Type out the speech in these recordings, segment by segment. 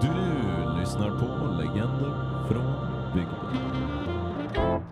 Du lyssnar på Legender från bygden.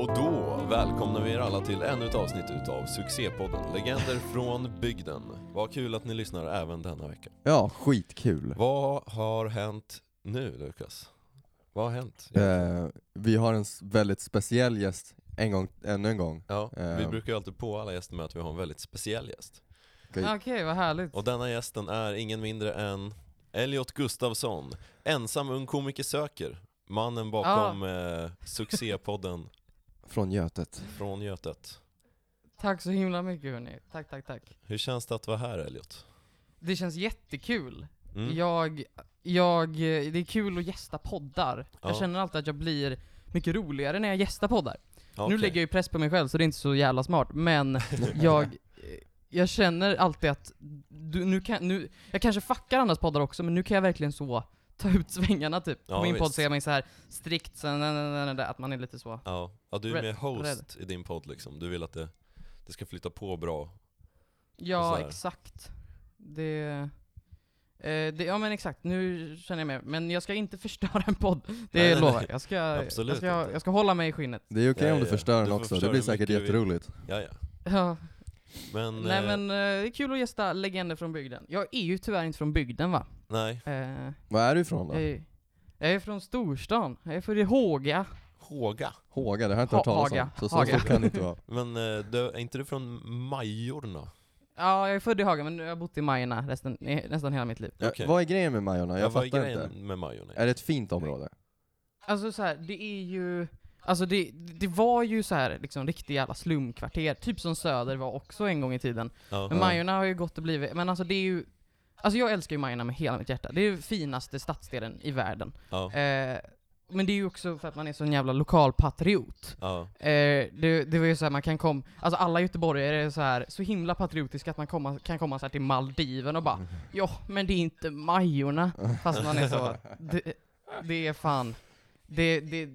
Och då välkomnar vi er alla till ännu ett avsnitt utav succépodden Legender från bygden. Vad kul att ni lyssnar även denna vecka. Ja, skitkul. Vad har hänt nu Lukas? Vad har hänt? Eh, vi har en s- väldigt speciell gäst en gång, ännu en gång. Ja, vi eh. brukar ju alltid på alla gäster med att vi har en väldigt speciell gäst. Okej. Okej, vad härligt. Och denna gästen är ingen mindre än Elliot Gustafsson, ensam ung komiker söker, mannen bakom eh, succépodden Från Götet. Från Götet. Tack så himla mycket hörni. Tack, tack, tack. Hur känns det att vara här Elliot? Det känns jättekul. Mm. Jag, jag, det är kul att gästa poddar. Ja. Jag känner alltid att jag blir mycket roligare när jag gästar poddar. Okej. Nu lägger jag ju press på mig själv så det är inte så jävla smart, men jag, eh, jag känner alltid att, du, nu kan, nu, jag kanske fuckar andras poddar också, men nu kan jag verkligen så ta ut svängarna typ. Ja, på min podd visst. ser man ju så här strikt, så, na, na, na, na, na, att man är lite så. Ja, ja du är Rädd- mer host i din podd liksom. Du vill att det, det ska flytta på bra. Ja, så här. exakt. Det, eh, det... Ja men exakt, nu känner jag mig. Men jag ska inte förstöra en podd. Det Nej, nej, lovar nej. jag. Jag ska, Absolut jag, ska, inte. jag ska hålla mig i skinnet. Det är okej Ja, om du ja, ja. förstör Du den får också, förstöra det blir hur mycket säkert du vill. jätteroligt. Ja, ja. Ja. Men, Nej eh, men eh, det är kul att gästa legender från bygden. Jag är ju tyvärr inte från bygden va? nej. Eh, Var är du ifrån jag, då? är, jag är från storstan. Jag är från Håga. Håga. Håga, det har jag inte hört Ha- talas om. Haga, Så, så, Haga. så kan det inte vara. Men eh, du, är inte du från Majorna? Ja, jag är född i Haga men jag har bott i Majorna resten, eh, nästan hela mitt liv. Ja, Okej. Vad är grejen med Majorna? Jag vad är fattar grejen inte. med Majorna? Är det ett fint område? Alltså så här, det är ju Alltså det, det var ju så här liksom riktigt jävla slumkvarter, typ som Söder var också en gång i tiden. Ja. Men Ja. Majorna har ju gått och blivit, men alltså det är ju Alltså jag älskar ju Majorna med hela mitt hjärta, det är den finaste stadsdelen i världen. Ja. Eh, men det är ju också för att man är sån jävla lokalpatriot. Ja. Eh, det, det var ju så här, man kan komma, alltså alla göteborgare är så här så himla patriotiska att man komma, kan komma så här till Maldiven och bara Ja, men det är inte Majorna. Fast man är så, det, det är fan, det, det,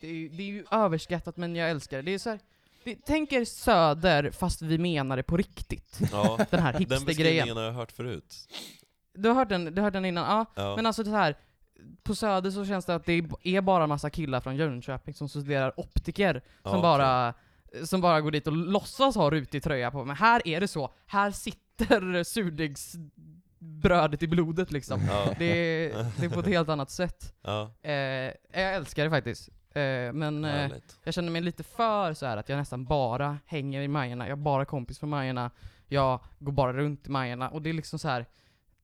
det, är ju- det är ju överskattat men jag älskar det. Det är så här, det, tänk er söder fast vi menar det på riktigt. ja. Den här Den hipstergrejen. beskrivningen har jag hört förut. Du har hört den, du har hört den innan? Ja. Ja. Men alltså det här, på Söder så känns det att det är bara en massa killar från Jönköping som studerar optiker, Ja, som, bara, som bara går dit och låtsas ha rutig tröja på. Men här är det så, här sitter surdegsbrödet i blodet liksom. Ja. Det, är- det är på ett helt annat sätt. Ja. Eh, jag älskar det faktiskt. Eh, men eh, Härligt. jag känner mig lite för så här att jag nästan bara hänger i Majorna, jag har bara kompis från Majorna, jag går bara runt i Majorna och det är liksom så här.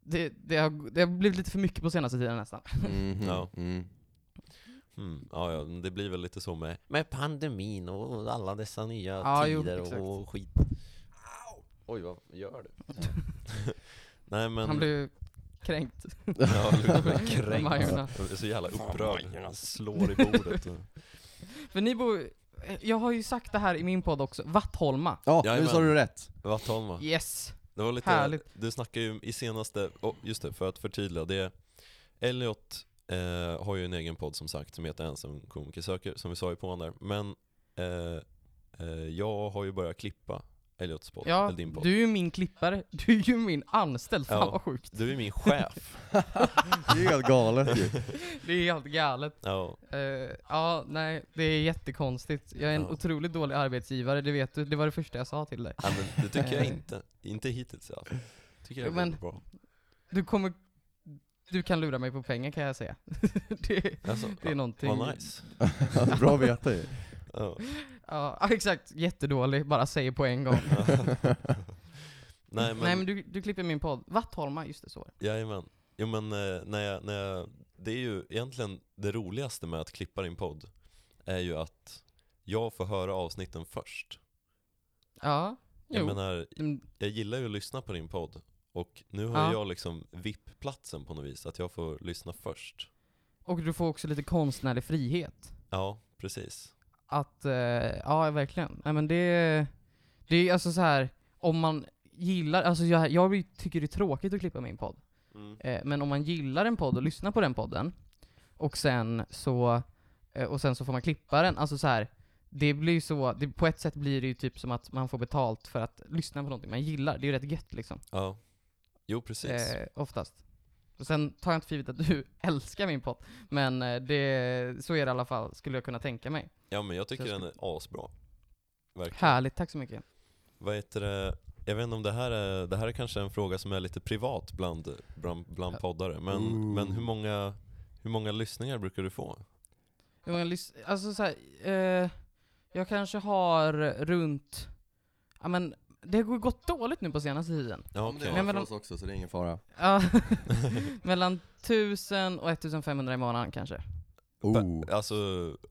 Det, det, har, det har blivit lite för mycket på senaste tiden nästan. Mhm, Ja. mm. Mm. Ja, ja, men det blir väl lite så med, med pandemin och alla dessa nya Ja, jo, tider exakt. och, och skit. Au! Oj, vad gör du? Nej men... Han blev kränkt. Ja, Lukas blev kränkt. Majorna. Jag är så jävla upprörd. Slår i bordet. För ni bor... Jag har ju sagt det här i min podd också, Vattholma. Ja, nu Jajamän. sa du rätt. Vattholma. Yes! Det var lite, Härligt. du snackade ju i senaste, oh, just det, för att förtydliga det Elliot eh, har ju en egen podd som sagt som heter Ensam komiker söker, som vi sa i på där Men eh, eh, jag har ju börjat klippa Elliots podd, Ja, eller din podd du är ju min klippare, du är ju min anställd, fan Ja. vad sjukt. Du är min chef! Det är ju helt galet ju. Det är helt galet. ja, Eh, ja, nej, det är jättekonstigt. Jag är en Ja. otroligt dålig arbetsgivare, det vet du. Det var det första jag sa till dig. nej, men det tycker jag inte, inte hittills i alla fall Tycker jag är Men- väldigt bra Du kommer... Du kan lura mig på pengar kan jag säga. det, alltså, det är någonting... Vad nice! Bra att veta ju. Ja. Ja, ja, exakt. Jättedålig, bara säger på en gång. Nej men, Nej men du, du klipper min podd. Vattholma, just det så. Jajamän. Jo men eh, när jag, när jag, det är ju egentligen det roligaste med att klippa din podd är ju att jag får höra avsnitten först. Ja. Jag Jo. menar, Mm, jag gillar ju att lyssna på din podd och nu har Ja. jag liksom VIP-platsen på något vis, att jag får lyssna först. Och du får också lite konstnärlig frihet. Ja, precis. Att, eh, ja verkligen. Nej men det, det är alltså så här om man gillar, alltså jag, jag tycker det är tråkigt att klippa min podd. Eh, men om man gillar en podd och lyssnar på den podden, och sen så, eh, och sen så får man klippa den, alltså så här. Det blir ju så, det, på ett sätt blir det ju typ som att man får betalt för att lyssna på någonting man gillar, det är ju rätt gött liksom. Ja. Jo, precis. Eh, oftast. Och sen tar jag inte för givet att du älskar min podd, men eh, det, så är det i alla fall, skulle jag kunna tänka mig. Ja, men jag tycker jag den är asbra. Verkligen. Härligt, tack så mycket. Vad heter det? Jag vet inte om det här är, det här är kanske en fråga som är lite privat bland, bland, bland Ja. poddare, men, Ooh. men hur, många, hur många lyssningar brukar du få? Hur många lys- alltså så här, eh, jag kanske har runt, ja men, det har gått dåligt nu på senaste tiden. Ja, men det okej. Nej, har men för de- oss också så det är ingen fara. Ja, mellan 1000 och 1500 i månaden kanske. Oh, Alltså,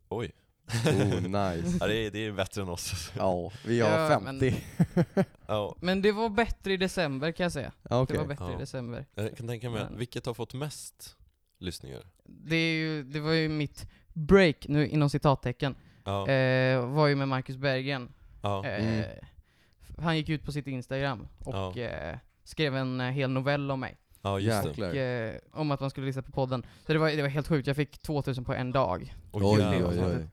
oj. oh nice. Ja, det, är, det är bättre än oss. Ja, vi har Ja, men- 50. Ja, Men det var bättre i december kan jag säga. Ja, Det Okej. var bättre Ja. i december. jag kan tänka mig, att Men- vilket har fått mest lyssningar? Det, är ju, det var ju mitt break, nu inom citattecken, Ja, eh, var ju med Marcus Bergen. ja, Eh, Mm. Han gick ut på sitt Instagram och Ja. eh, skrev en eh, hel novell om mig. ja just det. Jäklar. eh, om att man skulle lyssna på podden. Så det var, det var helt sjukt, jag fick 2000 på en dag. Oj, oj, jävlar. oj.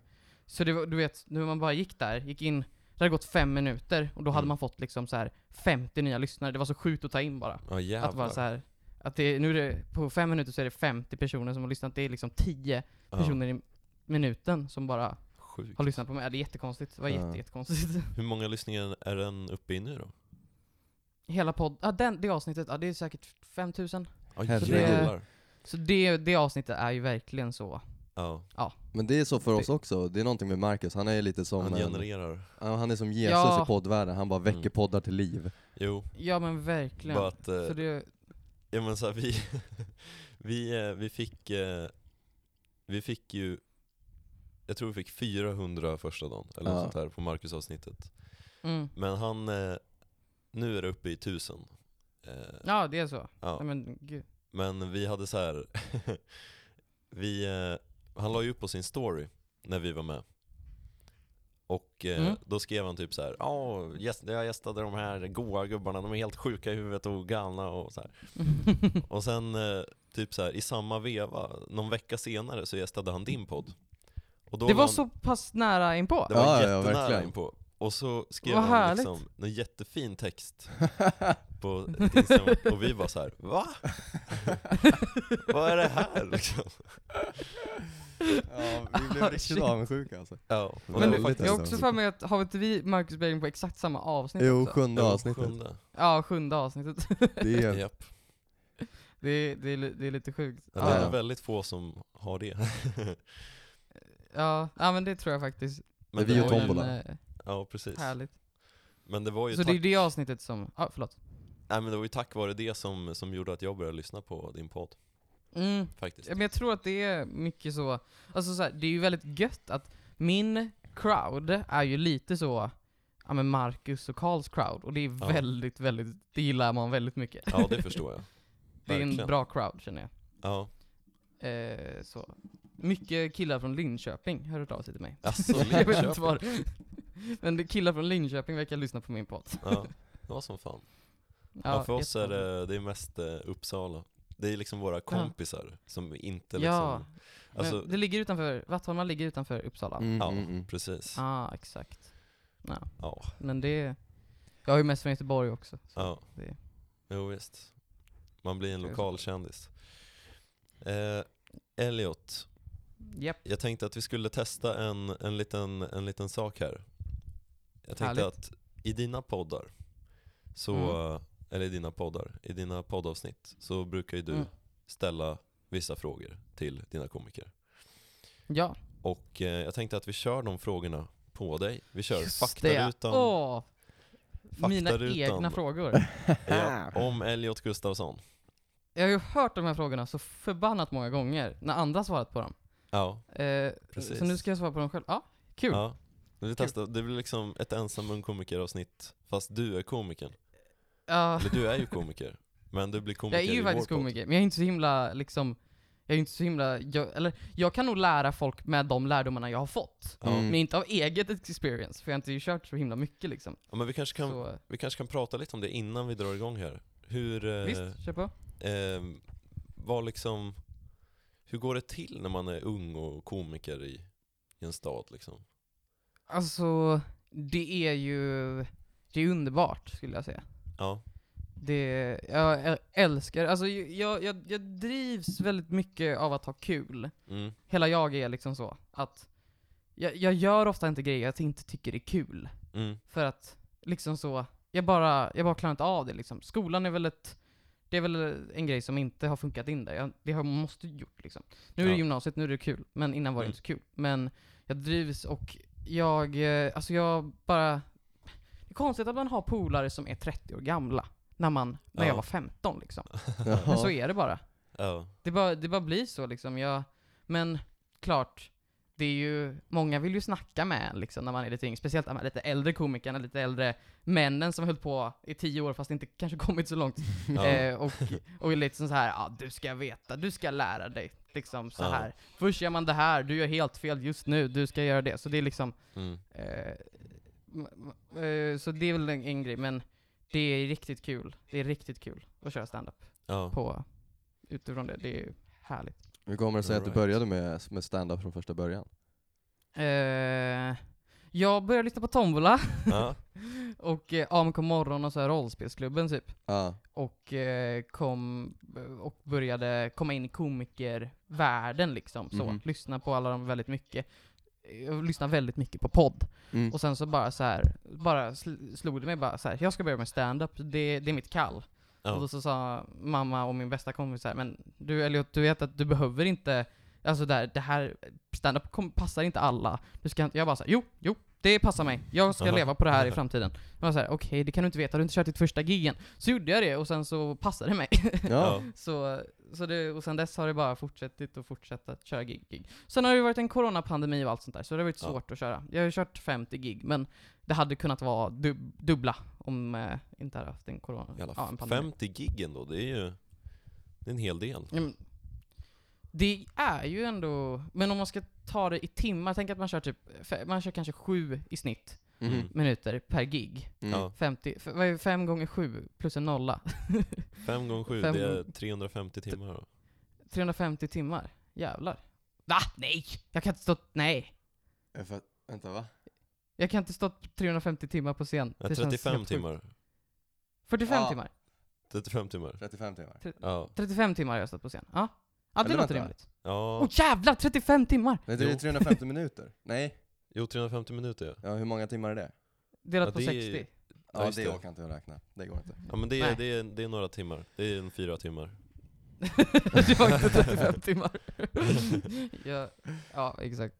Så det var, du vet, när man bara gick där, gick in, det hade gått fem minuter och då hade Mm. man fått liksom så här 50 nya lyssnare. Det var så sjukt att ta in bara. Ja, jävlar. Att bara så här, att det, nu är det, på fem minuter så är det 50 personer som har lyssnat. Det är liksom 10 personer i minuten som bara Ja, sjukt. har lyssnat på mig. Ja, Det är jättekonstigt. Det var Ja. jätte, jättekonstigt. Hur många lyssningar är den uppe i nu då? Hela podden, ja, den- det avsnittet, ja, det är säkert 5000. Ja, Herregud. jävlar. Så det, det avsnittet är ju verkligen så. Ja, Men det är så för oss Det- också, det är någonting med Marcus, han är lite som han en- genererar. ja, han är som Jesus Ja. i poddvärlden, han bara väcker Mm. poddar till liv. Jo, Ja men verkligen. bara att eh, Så det, Ja men så här, vi, vi, eh, vi fick eh, Vi fick ju Jag tror vi fick 400 första dagen eller något Ja. sånt här på Marcus avsnittet mm. Men han eh, Nu är det uppe i 1000 eh, Ja det är så. Ja. ja. Men gud. Men vi hade så här vi, eh, Han la ju upp på sin story när vi var med och eh, Mm. då skrev han typ så här, ja gäst- jag gästade de här goa gubbarna, de är helt sjuka i huvudet och galna och så här. Mm. Och sen eh, typ så här, i samma veva, någon vecka senare så gästade han din podd. Och då det var han- så pass nära inpå. det var Ja, ja, jättenära verkligen. inpå. Och så skrev Vad han härligt. liksom en jättefin text på ett Instagram, och vi var så här, va? Vad är det här liksom? ja, vi blev riktigt shit. avundsjuka alltså. Ja, och Men det du- var faktiskt Jag har Nästan. också för mig att, har inte vi Marcus Berggren på exakt samma avsnitt Jo, också? sjunde det var avsnittet. sjunde. Ja, sjunde avsnittet. Det är, Japp. det, är, det, är, li- det är lite sjukt. Det Ja, är ja. Ja. väldigt få som har det. Ja. ja, men det tror jag faktiskt. Men vi det och var ju- Tombola. eh, Ja, precis. Härligt. Men det var ju Så det är tack, det avsnittet som, ja förlåt. nej, men det var ju tack vare det som, som gjorde att jag började lyssna på din podd Mm. faktiskt. Ja, Men jag tror att det är mycket så, alltså så här, det är ju väldigt gött att min crowd är ju lite så, ja men Marcus och Karls crowd, och det är Ja. väldigt, väldigt, det gillar man väldigt mycket. Ja, det förstår jag. Det är en verkligen. bra crowd känner jag. Ja. Eh, så. Mycket killar från Linköping hör hört av sig till mig. Alltså, jag vet inte Linköping. var. Men det är killar från Linköping verkar lyssna på min podd. Ja, det var som fan. Ja, för oss är det, det är mest eh, Uppsala. Det är liksom våra kompisar som inte liksom... Ja, alltså- men Mm, det ligger utanför, Vattholma ligger utanför Uppsala. mm, Ja, mm, mm. precis. Ja. ah, exakt. Ja, Ja. men det, jag har ju mest från Göteborg också. så det- Jo, visst. Man blir en Det är lokal kändis. Eh, Elliot, Japp. jag tänkte att vi skulle testa en, en, liten, en liten sak här. Jag tänkte Härligt. Mm. att i dina poddar, så, eller i dina poddar, i dina poddavsnitt så brukar ju du Mm. ställa vissa frågor till dina komiker. Ja, Och eh, jag tänkte att vi kör de frågorna på dig. Vi kör just faktarutan. det. Åh, mina faktarutan. egna frågor. Ja, om Elliot Gustafsson. Jag har ju hört de här frågorna så förbannat många gånger när andra har svarat på dem. Ja, Eh, Precis. så nu ska jag svara på dem själv. Ja, kul. ja. Men Vi testar. Det blir liksom ett ensam ung komiker-avsnitt, fast du är komikern. Ja. Eller du är ju komiker, men du blir komiker Jag är i ju vår faktiskt podd. komiker, men jag är inte så himla liksom Jag är inte så himla, jag, eller jag kan nog lära folk med de lärdomarna jag har fått. Ja. Mm. Men inte av eget experience, för jag har inte kört så himla mycket liksom. Ja, men vi kanske, kan, Så vi kanske kan prata lite om det innan vi drar igång här. Hur, eh, visst, kör på. eh, vad liksom, hur går det till när man är ung och komiker i, i en stad liksom? Alltså, det är ju, det är underbart skulle jag säga. Ja, Det, jag äl- älskar, alltså jag, jag, jag drivs väldigt mycket av att ha kul. mm, Hela jag är liksom så, att jag, jag gör ofta inte grejer jag inte tycker är kul. mm, För att liksom så, jag bara, jag bara klarar inte av det liksom. Skolan är väl ett, det är väl en grej som inte har funkat in där. Jag, det har jag måste gjort liksom. Nu är det Ja. gymnasiet, nu är det kul. Men innan var det Mm. inte så kul. Men jag drivs och jag, eh, alltså jag bara, det är konstigt att man har polare som är 30 år gamla. När man, när Ja. jag var 15 liksom. Men Ja. så är det bara. ja, Det bara, det bara blir så liksom. Jag, men klart, det är ju, många vill ju snacka med en, liksom när man är lite yngre. Speciellt de här lite äldre komikerna, lite äldre männen som höll på i tio år fast inte kanske kommit så långt. ja. Eh, och, och är lite som så här, ja du ska veta, du ska lära dig. Liksom så Ja. här. Först gör man det här, du gör helt fel just nu, du ska göra det. Så det är liksom, Mm, eh, m- m- eh, så det är väl en, en grej, men det är riktigt kul. Det är riktigt kul att köra stand-up ja. på, utifrån det. Det är ju härligt. Hur kommer det sig att du Right. började med, med stand-up från första början? Eh, jag började lyssna på Tombola ja. och eh, AMK morgon och så här rollspelsklubben typ. Ja. Och eh, kom och började komma in i komikervärlden liksom. Så. Mhm. Lyssna på alla dem väldigt mycket. Jag lyssnade väldigt mycket på podd. Mm. Och sen så bara så här, bara sl- slog det mig bara så här. jag ska börja med stand-up, det, det är mitt kall. Och ja. då så sa mamma och min bästa kompis så här, men du Elliot, du vet att du behöver inte, alltså där, det här, standup kom- passar inte alla. Du ska inte, jag bara så här, jo, jo, det passar mig. Jag ska Aha. leva på det här i framtiden. Jag var så här, okej, det kan du inte veta, du har inte kört ditt första gigen. Så gjorde jag det och sen så passade det mig. Ja. Så, så det, och sen dess har det bara fortsatt och fortsatt att köra gig, gig. Sen har det ju varit en coronapandemi och allt sånt där, så det har varit Ja. svårt att köra. Jag har ju kört 50 gig, men det hade kunnat vara dub- dubbla om eh, inte hade haft en corona. Jävla ja, en pandemi. 50 gig ändå, det är ju det är en hel del. Ja, men Det är ju ändå, men om man ska ta det i timmar, tänk att man kör typ, fe- man kör kanske sju i snitt Mm. Mm. minuter per gig. Mm. Ja. 50, f- vad är fem gånger sju plus en nolla? fem gånger sju Fem- det är 350 timmar. då. 350 timmar. Jävlar. Va? Nej! Jag kan inte stå, nej. Jag fatt- Vänta va? Jag kan inte stå 350 timmar på scen. Ja, Det känns 35 helt sjukt. timmar. 45 Ja. timmar. 35 timmar. 35 timmar. Ja. 35 timmar har jag stått på scen. Ja. Ja, det Eller låter vänta. rimligt. ja. Åh oh, jävlar! 35 timmar! Nej det är Jo. 350 minuter. Nej, Jo, 350 minuter ja. ja, hur många timmar är det? Delat Ja, på det är 60. Ja, Ja, just det det. orkar inte jag räkna. Det går inte. Ja men det Nej. är, det, är, det är några timmar. Det är en fyra timmar. det var inte 35 timmar. ja, ja, exakt.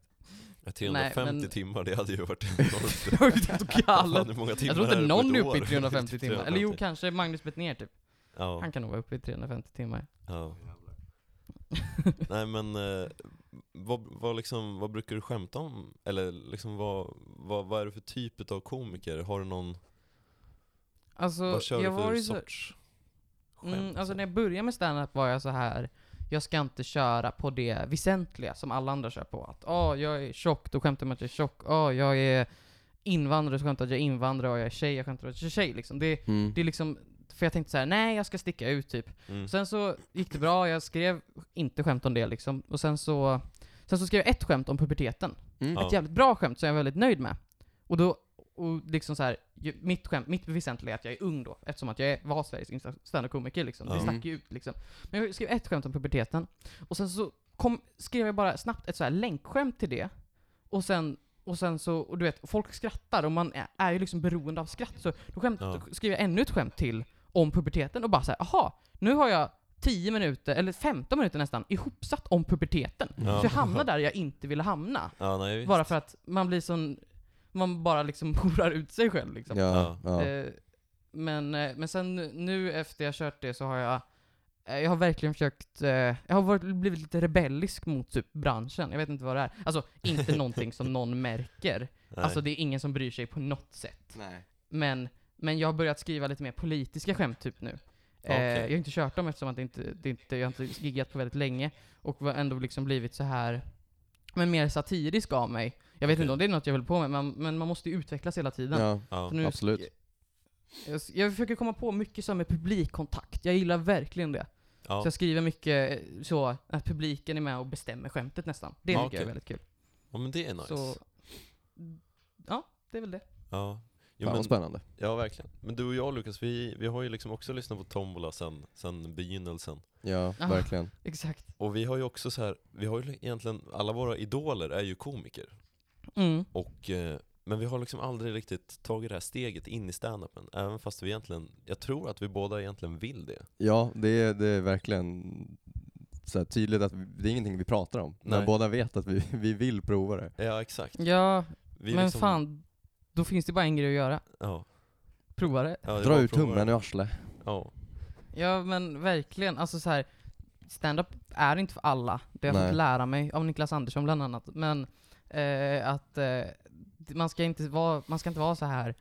350 men- timmar, det hade ju varit enormt. Det var ju helt Fan, galet. hur många timmar Jag tror inte är det på någon är ett uppe i år? 350 timmar. Eller jo, 350. kanske Magnus Bettner typ. Ja, Han kan nog vara uppe i 350 timmar. ja. Nej men, eh, vad, vad, liksom, vad brukar du skämta om? Eller liksom, vad, vad, vad är det för typ av komiker? Har du någon, Alltså, vad kör jag du var för ju så... sorts skämt? Mm, alltså så? när jag började med standup var jag så här. jag ska inte köra på det väsentliga som alla andra kör på. Att åh, jag är tjock, då skämtar man att jag är tjock. Åh, jag är invandrare, så skämtar jag att jag är invandrare. Och jag är tjej, jag skämtar att jag är tjej. Liksom. Det, det är liksom, för jag tänkte så här: nej jag ska sticka ut typ. Mm. Sen så gick det bra, jag skrev inte skämt om det liksom. Och sen så, sen så skrev jag ett skämt om puberteten. Mm. Ja. Ett jävligt bra skämt som jag är väldigt nöjd med. Och då, och liksom så här, ju- mitt skämt, mitt väsentliga är att jag är ung då, eftersom att jag är, var Sveriges yngsta standup-komiker liksom. Det Ja. stack ju ut liksom. Men jag skrev ett skämt om puberteten, och sen så kom, skrev jag bara snabbt ett så här länkskämt till det, och sen och sen så, och du vet, folk skrattar och man är, är ju liksom beroende av skratt. Så då, skämt, Ja. då skrev jag ännu ett skämt till om puberteten och bara såhär, aha, nu har jag 10 minuter, eller 15 minuter nästan, ihopsatt om puberteten. Ja. Så jag hamnar där jag inte ville hamna. Ja, nej, visst. Bara för att man blir sån, man bara liksom horar ut sig själv liksom. Ja, ja. Eh, men, eh, men sen nu efter jag kört det så har jag, eh, jag har verkligen försökt, eh, jag har varit, blivit lite rebellisk mot typ branschen. Jag vet inte vad det är. Alltså inte någonting som någon märker. Nej. Alltså det är ingen som bryr sig på något sätt. Nej. Men, men jag har börjat skriva lite mer politiska skämt typ nu. Okej. Eh, jag har inte kört dem eftersom att det inte, det inte, jag har inte giggat på väldigt länge. Och har ändå liksom blivit så här men mer satirisk av mig. Jag vet Okej. inte om det är något jag vill på med, men, men man måste ju utvecklas hela tiden. Ja, Ja. Så nu- absolut. Jag, jag försöker komma på mycket som är publikkontakt. Jag gillar verkligen det. Ja. Så jag skriver mycket eh, så att publiken är med och bestämmer skämtet nästan. Det Ja, tycker jag okej. är väldigt kul. ja, men det är nice. Så, mm, ja, det är väl det. Ja. Jo, Fan men, vad spännande. ja, verkligen. Men du och jag Lukas, vi, vi har ju liksom också lyssnat på Tombola sen, sen begynnelsen. Ja, Ah. verkligen. Exakt. Och vi har ju också så här, vi har ju egentligen, alla våra idoler är ju komiker. Mm. Och, eh, men vi har liksom aldrig riktigt tagit det här steget in i standupen, även fast vi egentligen, jag tror att vi båda egentligen vill det. Ja, det är, det är verkligen så här tydligt att vi, det är ingenting vi pratar om. Nej. Men båda vet att vi, vi vill prova det. Ja, exakt. Ja, Vi men liksom- fan. Då finns det bara en grej att göra. Ja, Prova det. ja, det Dra var ur provar. tummen ur arslet. Ja, Ja men verkligen, alltså så här stand-up är inte för alla. Det har jag Nej. fått lära mig av Niklas Andersson bland annat. Men eh, att eh, man, ska inte vara, man ska inte vara så här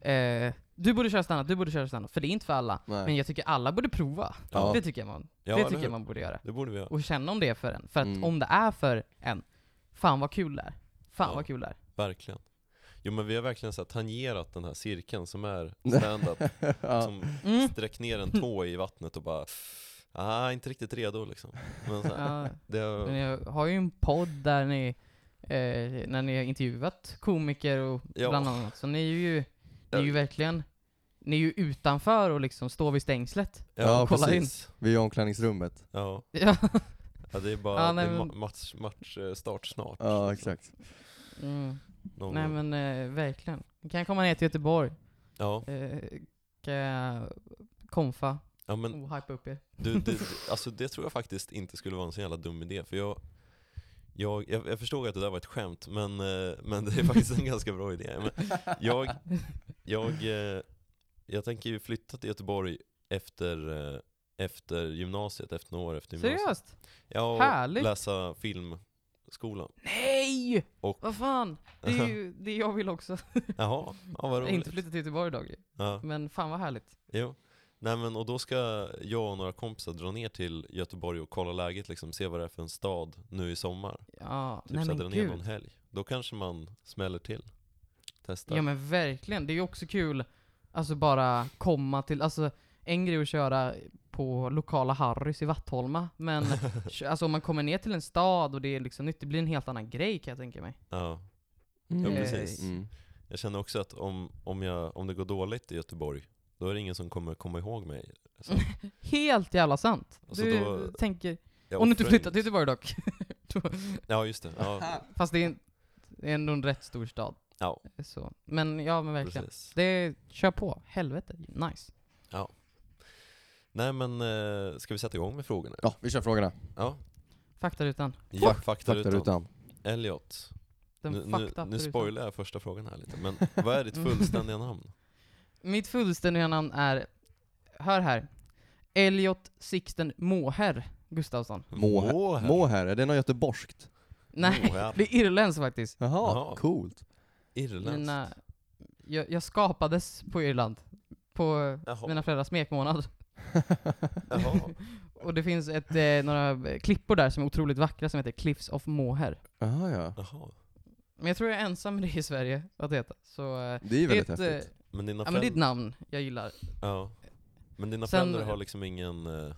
eh, du borde köra stand-up, du borde köra stand-up, för det är inte för alla. Nej. Men jag tycker alla borde prova. Ja. Det tycker jag man, ja det eller tycker hur? jag man borde göra. Det borde vi göra, Och känna om det är för en. För att Mm. om det är för en, fan vad kul det är. Fan Ja. vad kul det är. verkligen. Jo men vi har verkligen så här, tangerat den här cirkeln som är standup, ja. som Mm. sträck ner en tå i vattnet och bara Ah, inte riktigt redo liksom. Men så här, Ja. det har, Ni har ju en podd där ni, eh, när ni har intervjuat komiker och Ja. bland annat, så ni är ju, ni är ju verkligen, ni är ju utanför och liksom står vid stängslet. Ja, kolla precis. Vi är i omklädningsrummet. Ja. Ja. ja, det är bara Ja, nej, det är ma- men- match, match eh, start snart. Ja, liksom. exakt. Mm. Någon Nej gång. men eh, verkligen. Ni kan komma ner till Göteborg, Ja, eh, kan jag konfa ja men och hypa upp er. Du, det, alltså det tror jag faktiskt inte skulle vara en så jävla dum idé, för jag, jag, jag, jag förstod att det där var ett skämt, men, eh, men det är faktiskt en ganska bra idé. Men jag, jag, eh, jag tänker ju flytta till Göteborg efter, eh, efter gymnasiet, efter några år efter gymnasiet. Seriöst? Ja, och Härligt. läsa filmskolan. Nej! Och- Vad fan! Det är ju det jag vill också. Jaha, ja, vad Jag har inte roligt. flyttat till Göteborg idag ju. Ja, men fan vad härligt. jo. Nej men och då ska jag och några kompisar dra ner till Göteborg och kolla läget liksom, se vad det är för en stad nu i sommar. Ja, Typ nej sätta men den ner gud. någon helg. Då kanske man smäller till. Testar. Ja men verkligen, det är ju också kul Alltså bara komma till, alltså en grej att köra på lokala Harrys i Vattholma Men kö- alltså om man kommer ner till en stad och det är liksom nytt, det blir en helt annan grej kan jag tänka mig ja. Mm. Ja, precis. Mm. Jag känner också att om, om, jag, om det går dåligt i Göteborg, då är det ingen som kommer komma ihåg mig. Så, Helt jävla sant! Alltså du då- tänker, jag om du inte offrar flyttar till inget. Göteborg dock Då- Ja just det, ja, Fast det är, en, det är ändå en rätt stor stad eh, Ja. Så. Men ja men verkligen precis. Det, kör på, helvete, nice Nej men, eh, ska vi sätta igång med frågorna? Ja, vi kör frågorna. Ja, Faktarutan, ja faktarutan. Faktarutan. Elliot, den nu, nu, fakta Mm. nu förutan. spoilar jag första frågan här lite, men vad är ditt fullständiga namn? Mitt fullständiga namn är, hör här, Elliot Sixten Moher Gustafsson. Må- Moher. Mohair, är det något göteborgskt? Nej, Moher. det är irländskt faktiskt. Jaha, Jaha. coolt. Irländskt. Mina, jag, jag skapades på Irland, på Jaha. mina föräldrars smekmånad. Jaha. Och det finns ett, eh, några klippor där som är otroligt vackra som heter Cliffs of Moher. Jaha ja. Jaha. Men jag tror jag är ensam med det i Sverige, att heta. Så, eh, Det är ju det är väldigt ett, häftigt. eh, Men dina ja men det är ett föräldrar- namn jag gillar. Ja. Men dina Sen- föräldrar har liksom ingen... eh,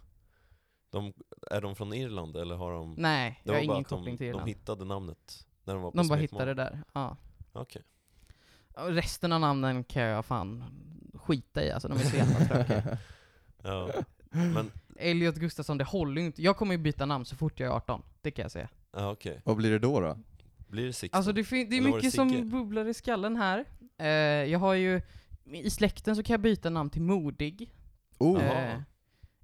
De, är de från Irland eller har de... Nej, jag var har ingen bara att koppling de, till Irland. De hittade namnet när de var på De bara smekmånad. hittade det där, ja. Okej. Ja, Resten av namnen kan jag fan skita i alltså, de är så jävla tråkiga. Ja. Men, Elliot Gustafsson, det håller ju inte. Jag kommer ju byta namn så fort jag är 18, det kan jag säga. ja eh, okej. Vad blir det då då? Blir det Sixten? Alltså det, fin- det är Eller var det mycket Sigge? som bubblar i skallen här. Eh, jag har ju, i släkten så kan jag byta namn till Modig. Oh, Jaha. Eh,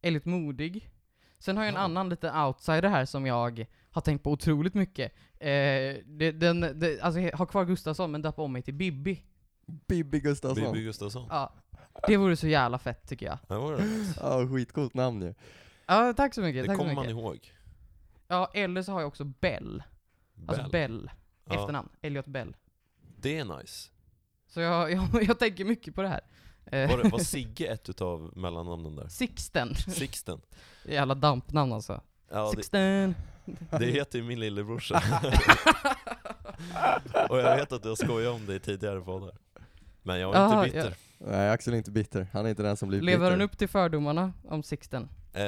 Elliot Modig. Sen har jag en Ja. annan liten outsider här som jag har tänkt på otroligt mycket. Eh, det, den, det, alltså jag har kvar Gustafsson men döper om mig till Bibi. Bibi Gustafsson. Bibi Gustafsson? Ja, det vore så jävla fett tycker jag. Ja, var det. Ja, skitcoolt namn ju. Ja, tack så mycket. det tack så kommer mycket. man ihåg. Ja, eller så har jag också Bell. Alltså Bell, Ja, efternamn. Elliot Bell. Det är nice. Så jag, jag, jag tänker mycket på det här. Eh, Var, det, var Sigge ett utav mellannamnen där? Sixten. Sixten? Jävla dampnamn alltså. Ja, det, Sixten. det heter ju min lillebrorsa. Och jag vet att jag skojade om det i tidigare poddar. Men jag är Aha, inte bitter. Nej, Axel är inte bitter. Han är inte den som blir Lever bitter. han upp till fördomarna om Sixten? Eh,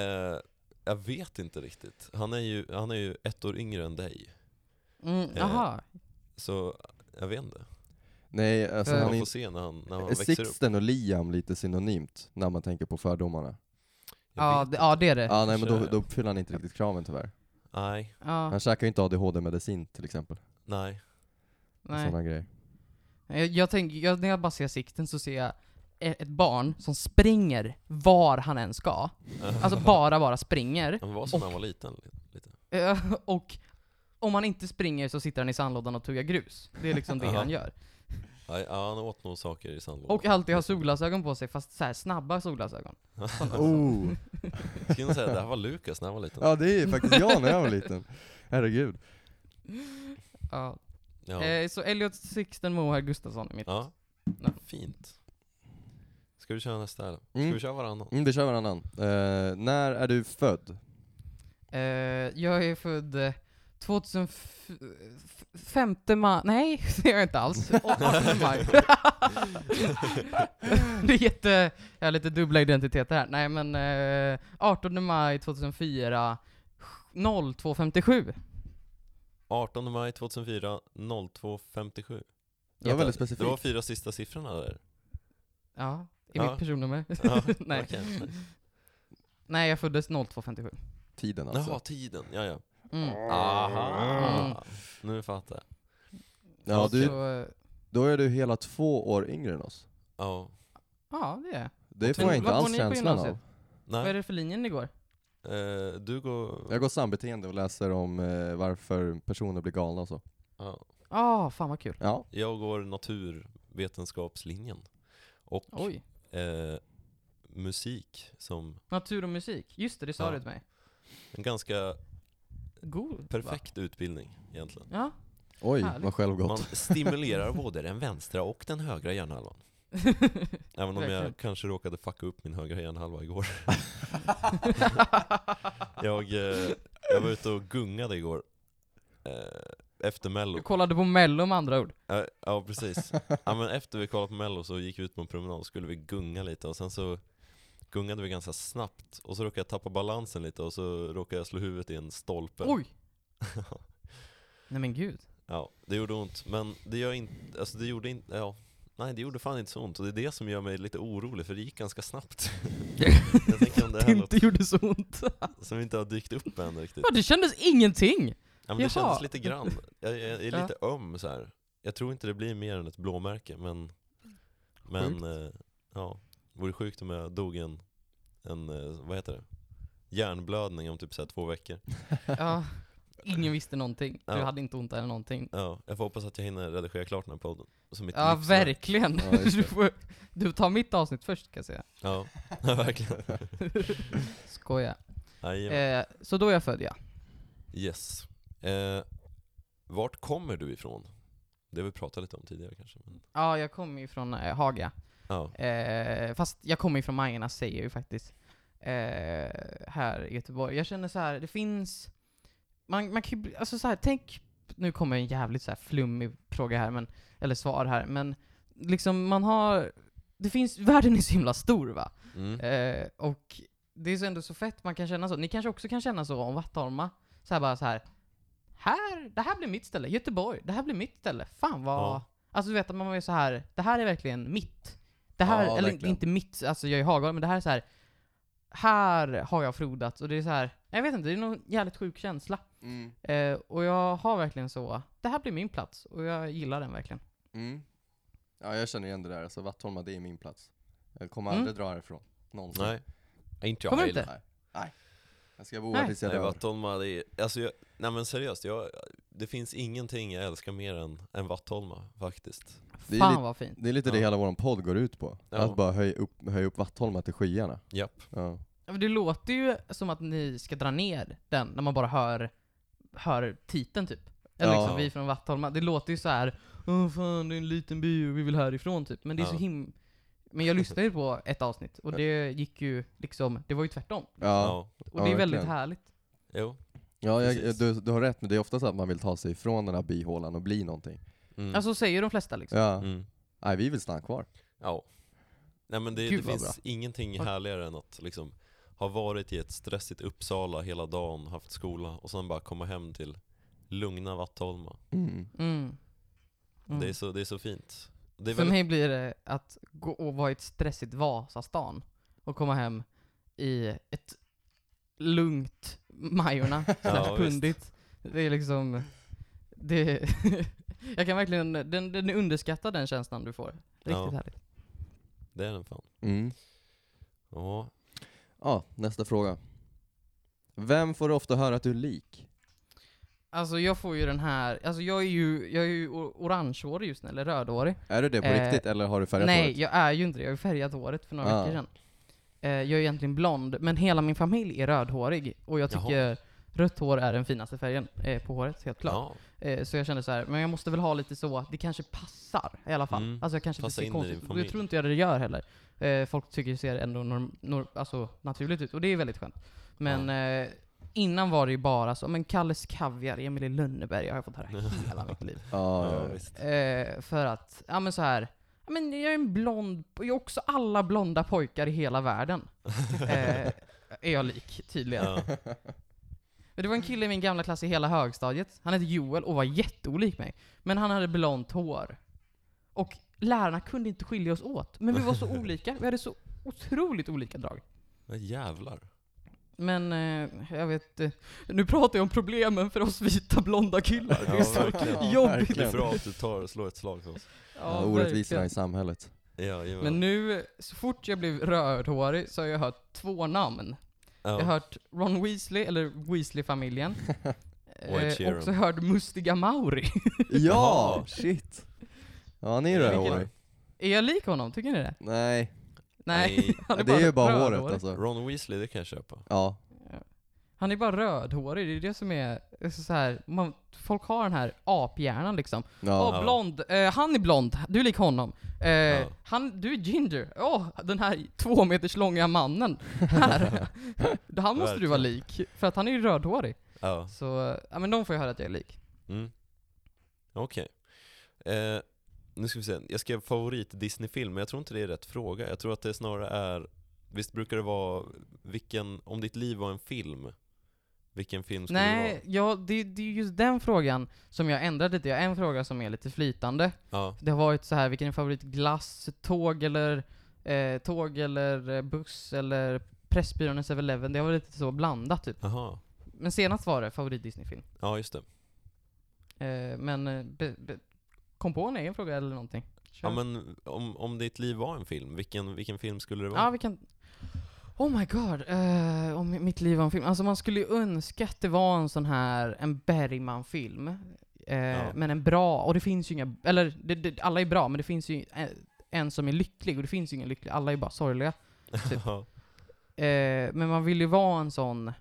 jag vet inte riktigt. Han är, ju, han är ju ett år yngre än dig. Mm, Eh, aha. Så jag vet inte. Nej, alltså Eh. han Man får är inte... se när han, när han Är växer upp. Sixten och Liam lite synonymt när man tänker på fördomarna? Eh. Jag Ja, vet det, ja, det är det. Ja, nej men då, kanske- då fyller han inte riktigt kraven tyvärr. Nej, Ja, Han käkar ju inte ADHD-medicin till exempel. nej. och nej. Sådana grejer. Jag, jag tänker, jag, när jag bara ser sikten så ser jag e- ett barn som springer var han än ska. Alltså bara, bara springer. Han var som när han var liten. Lite. Eh, Och om han inte springer så sitter han i sandlådan och tuggar grus. Det är liksom det Aha. han gör. Ja, ja, han åt nog saker i sandlådan. Och alltid har solglasögon på sig, fast så här snabba solglasögon. Oh. Skulle säga det här var Lukas när han var liten. Ja det är ju faktiskt jag när jag var liten. Herregud. Ja. Ja. Eh, så Elliot Sixten Moher Gustafsson är mitt. Ja. Ja. Fint. Ska vi köra nästa eller? Ska Mm. vi köra varannan? Mm, vi kör varannan. Eh, när är du född? Eh, jag är född eh, 2005 maj, nej det är jag inte alls. Å- 18 maj. det är jätte, jag har lite dubbla identiteter här. Nej men eh, 18 maj 2004, 02.57. 18 maj 2004, 02.57. Det var väldigt Det var specifikt. fyra sista siffrorna där. Ja, i Ja. mitt personnummer. Ja, nej. okej, nej. nej jag föddes 02.57. Tiden Jaha, alltså. tiden. Ja, ja. Mm. Aha. Nu fattar jag. Ja, du, Så, eh, då är du hela två år yngre än oss. Ja. ja det är jag. Det får Men jag inte vad går alls ni på känslan av. gymnasiet? Vad är Nej, det för linjen ni går? eh, du går... Jag går sambeteende och läser om eh, varför personer blir galna och så. Ja. Ah, fan vad kul. Ja. Jag går naturvetenskapslinjen. Och Oj. eh, musik som Natur och musik. Just det, det sa Ja. du till mig. en ganska God. perfekt utbildning egentligen. Ja. Oj, Härligt. vad Man självgott. stimulerar både den vänstra och den högra hjärnhalvan. Även om Verkligen. jag kanske råkade fucka upp min högra hjärnhalva igår. Jag, eh, jag var ute och gungade igår. Eh, efter mello. Du kollade på mello med andra ord. Ja, ja precis. Ja, men efter vi kollade på mello så gick vi ut på en promenad och skulle vi gunga lite och sen så gungade vi ganska snabbt och så råkade jag tappa balansen lite och så råkade jag slå huvudet i en stolpe. Oj! Nej men gud. Ja, det gjorde ont. Men det gör inte, alltså det gjorde inte, ja. Nej det gjorde fan inte så ont och det är det som gör mig lite orolig för det gick ganska snabbt. jag tänker om det Det här är något inte gjorde så ont. som inte har dykt upp än riktigt. Ja, det kändes ingenting! Ja, men det Jaha. kändes lite grann. Jag, jag är lite öm så här. Jag tror inte det blir mer än ett blåmärke, men... Men, eh, ja. Vore sjukt om jag dog i en, en, eh, vad heter det? Hjärnblödning om typ så här två veckor. Ja, ingen visste någonting. Du Ja. hade inte ont eller någonting. Ja, jag får hoppas att jag hinner redigera klart den här podden. Så mitt Ja, livsverk- verkligen. Ja, just du, det. får, du tar mitt avsnitt först kan jag säga. Ja, ja verkligen. Skoja. Jajamän. Eh, så då är jag född ja. Yes. Eh, vart kommer du ifrån? Det har vi pratat lite om tidigare kanske. Men, Ja, jag kommer ju från eh, Haga. ja, Eh, fast jag kommer ju från Majorna säger jag ju faktiskt. Eh, här i Göteborg. Jag känner så här, det finns... Man, man kan ju, bli- alltså så här, tänk... Nu kommer en jävligt så här flummig fråga här, men, eller svar här, men liksom man har... Det finns, världen är så himla stor va? mm. Eh, och det är så ändå så fett man kan känna så. Ni kanske också kan känna så om Vattholma. Så här bara så här. här det här blir mitt ställe. Göteborg, det här blir mitt ställe. Fan vad... Ja. Alltså du vet att man är så här. det här är verkligen mitt. Det här, Ja, eller verkligen. inte mitt, alltså jag är i Haga, men det här är så här. Här har jag frodats och det är så här. jag vet inte, det är någon jävligt sjuk känsla. Mm, Eh, och jag har verkligen så, det här blir min plats och jag gillar den verkligen. mm. Ja, jag känner igen det där. Alltså, Vattholma, det är min plats. Jag kommer Mm. aldrig dra härifrån. Någonsin. Nej. Inte jag Kommer du heller. inte? Nej. Nej. Jag ska bo Nej. här tills jag Nej, dör. Vattholma, det är, alltså jag, nej men seriöst, jag, det finns ingenting jag älskar mer än, än Vattholma faktiskt. Det är Fan lite- vad fint. Det är lite det Ja. hela vår podd går ut på. Ja. Att bara höja upp, höja upp Vattholma till skyarna. Japp. Ja. Ja, men Det låter ju som att ni ska dra ner den när man bara hör, hör titeln typ. Eller Ja. liksom vi från Vattholma. Det låter ju så här. Åh fan, det är en liten by och vi vill härifrån typ. Men det är så Ja. him... Men jag lyssnade ju på ett avsnitt och det gick ju liksom, det var ju tvärtom. Ja, Och Ja, det är väldigt verkligen. härligt. Jo. ja jag, precis. du, du har rätt, men det är ofta så att man vill ta sig ifrån den här bihålan och bli någonting. Mm. Alltså säger de flesta liksom. Ja, Mm. nej vi vill stanna kvar. Ja. Nej men det, Gud, det vad finns ingenting härligare än att liksom ha varit i ett stressigt Uppsala hela dagen, haft skola och sen bara komma hem till lugna Vattholma. Mm. Mm. Mm. Det, är så, det är så fint. Det är För väldigt, mig blir det att gå och vara i ett stressigt Vasastan och komma hem i ett lugnt Majorna, slash visst. Pundit. Det är liksom, det Jag kan verkligen, den, den underskattar den känslan du får. Riktigt Ja. härligt. det är den fan. Mm. Ja. Ja, nästa fråga. Vem får du ofta höra att du är lik? Alltså jag får ju den här, alltså jag är ju, jag är ju o- orangehårig just nu, eller rödhårig. Är du det på Eh, riktigt eller har du färgat Nej, håret? jag är ju inte det. Jag har ju färgat håret för några Ah. veckor sedan. Eh, jag är egentligen blond, men hela min familj är rödhårig. Och jag Jaha. tycker rött hår är den finaste färgen eh, på håret, helt klart. Ja. Eh, så jag kände så här, men jag måste väl ha lite så, att det kanske passar i alla fall. Mm. Alltså jag kanske Passa inte in ser i konstigt din ut. Och familj. Jag tror inte jag det gör heller. Eh, folk tycker det ser ändå norm, norm, alltså, naturligt ut, och det är väldigt skönt. Men eh, innan var det ju bara så, men Kalles Kaviar, Emil i Lönneberga har jag fått höra hela mitt liv. Ja, ja, Ja, ja. visst. Eh, för att, ja men så här. Ja, men jag är en blond, jag är också alla blonda pojkar i hela världen. Eh, är jag lik, tydligen. Ja. Men det var en kille i min gamla klass i hela högstadiet. Han hette Joel och var jätteolik mig. Men han hade blont hår. Och lärarna kunde inte skilja oss åt. Men vi var så olika. Vi hade så otroligt olika drag. Men jävlar. Men eh, jag vet eh, Nu pratar jag om problemen för oss vita blonda killar. Det är Ja, så verkligen. jobbigt. Det är Verkligen. bra att du tar och slår ett slag för oss. Ja, verkligen. orättvisorna i samhället. Ja, jajamän. Men nu, så fort jag blev rödhårig så har jag hört två namn. ja. Jag har hört Ron Weasley, eller Weasley-familjen. Och Ed eh, Sheeran. också hört Mustiga Mauri. ja, Jaha. shit. Ja, han är ju Vilken- rödhårig. är jag lik honom? Tycker ni det? Nej, Nej. Nej. Han det är ju bara rödhårig. håret alltså. Ron Weasley, det kan jag köpa. Ja, Han är bara rödhårig, det är det som är alltså, så här, man, folk har den här aphjärnan liksom. Åh, ja. Ja. blond. Eh, han är blond. Du är lik honom. Eh, Ja. han, du är ginger. Åh, den här två meters långa mannen. Här. han måste du vara Verkligen. lik, för att han är ju rödhårig. Ja. Så, ja men de får ju höra att jag är lik. Mm. Okej. Eh, nu ska vi se. Jag skrev favorit Disney-film, men jag tror inte det är rätt fråga. Jag tror att det snarare är, visst brukar det vara, vilken, om ditt liv var en film, vilken film skulle Nej, ja, det, det är just den frågan som jag ändrat lite. Jag har en fråga som är lite flytande. det vara? Ja. Det har varit så här, vilken är favoritglass? Tåg eller, eh, tåg eller eh, buss eller Pressbyrån i 7-Eleven? Det har varit lite så blandat typ. Aha. Men senast var det favorit Disney-film. Ja, just det. Eh, men eh, be, be, kom på en egen fråga eller någonting. Kör. Ja, men om, om ditt liv var en film, vilken, vilken film skulle det vara? Ja, vi kan... Oh my god, eh, om mitt liv var en film. Alltså man skulle ju önska att det var en sån här, en Bergman-film. Eh, Ja. Men en bra, och det finns ju inga, eller det, det, alla är bra, men det finns ju en, en som är lycklig, och det finns ju ingen lycklig, alla är bara sorgliga. typ. Ja. Eh, men man vill ju vara en sån,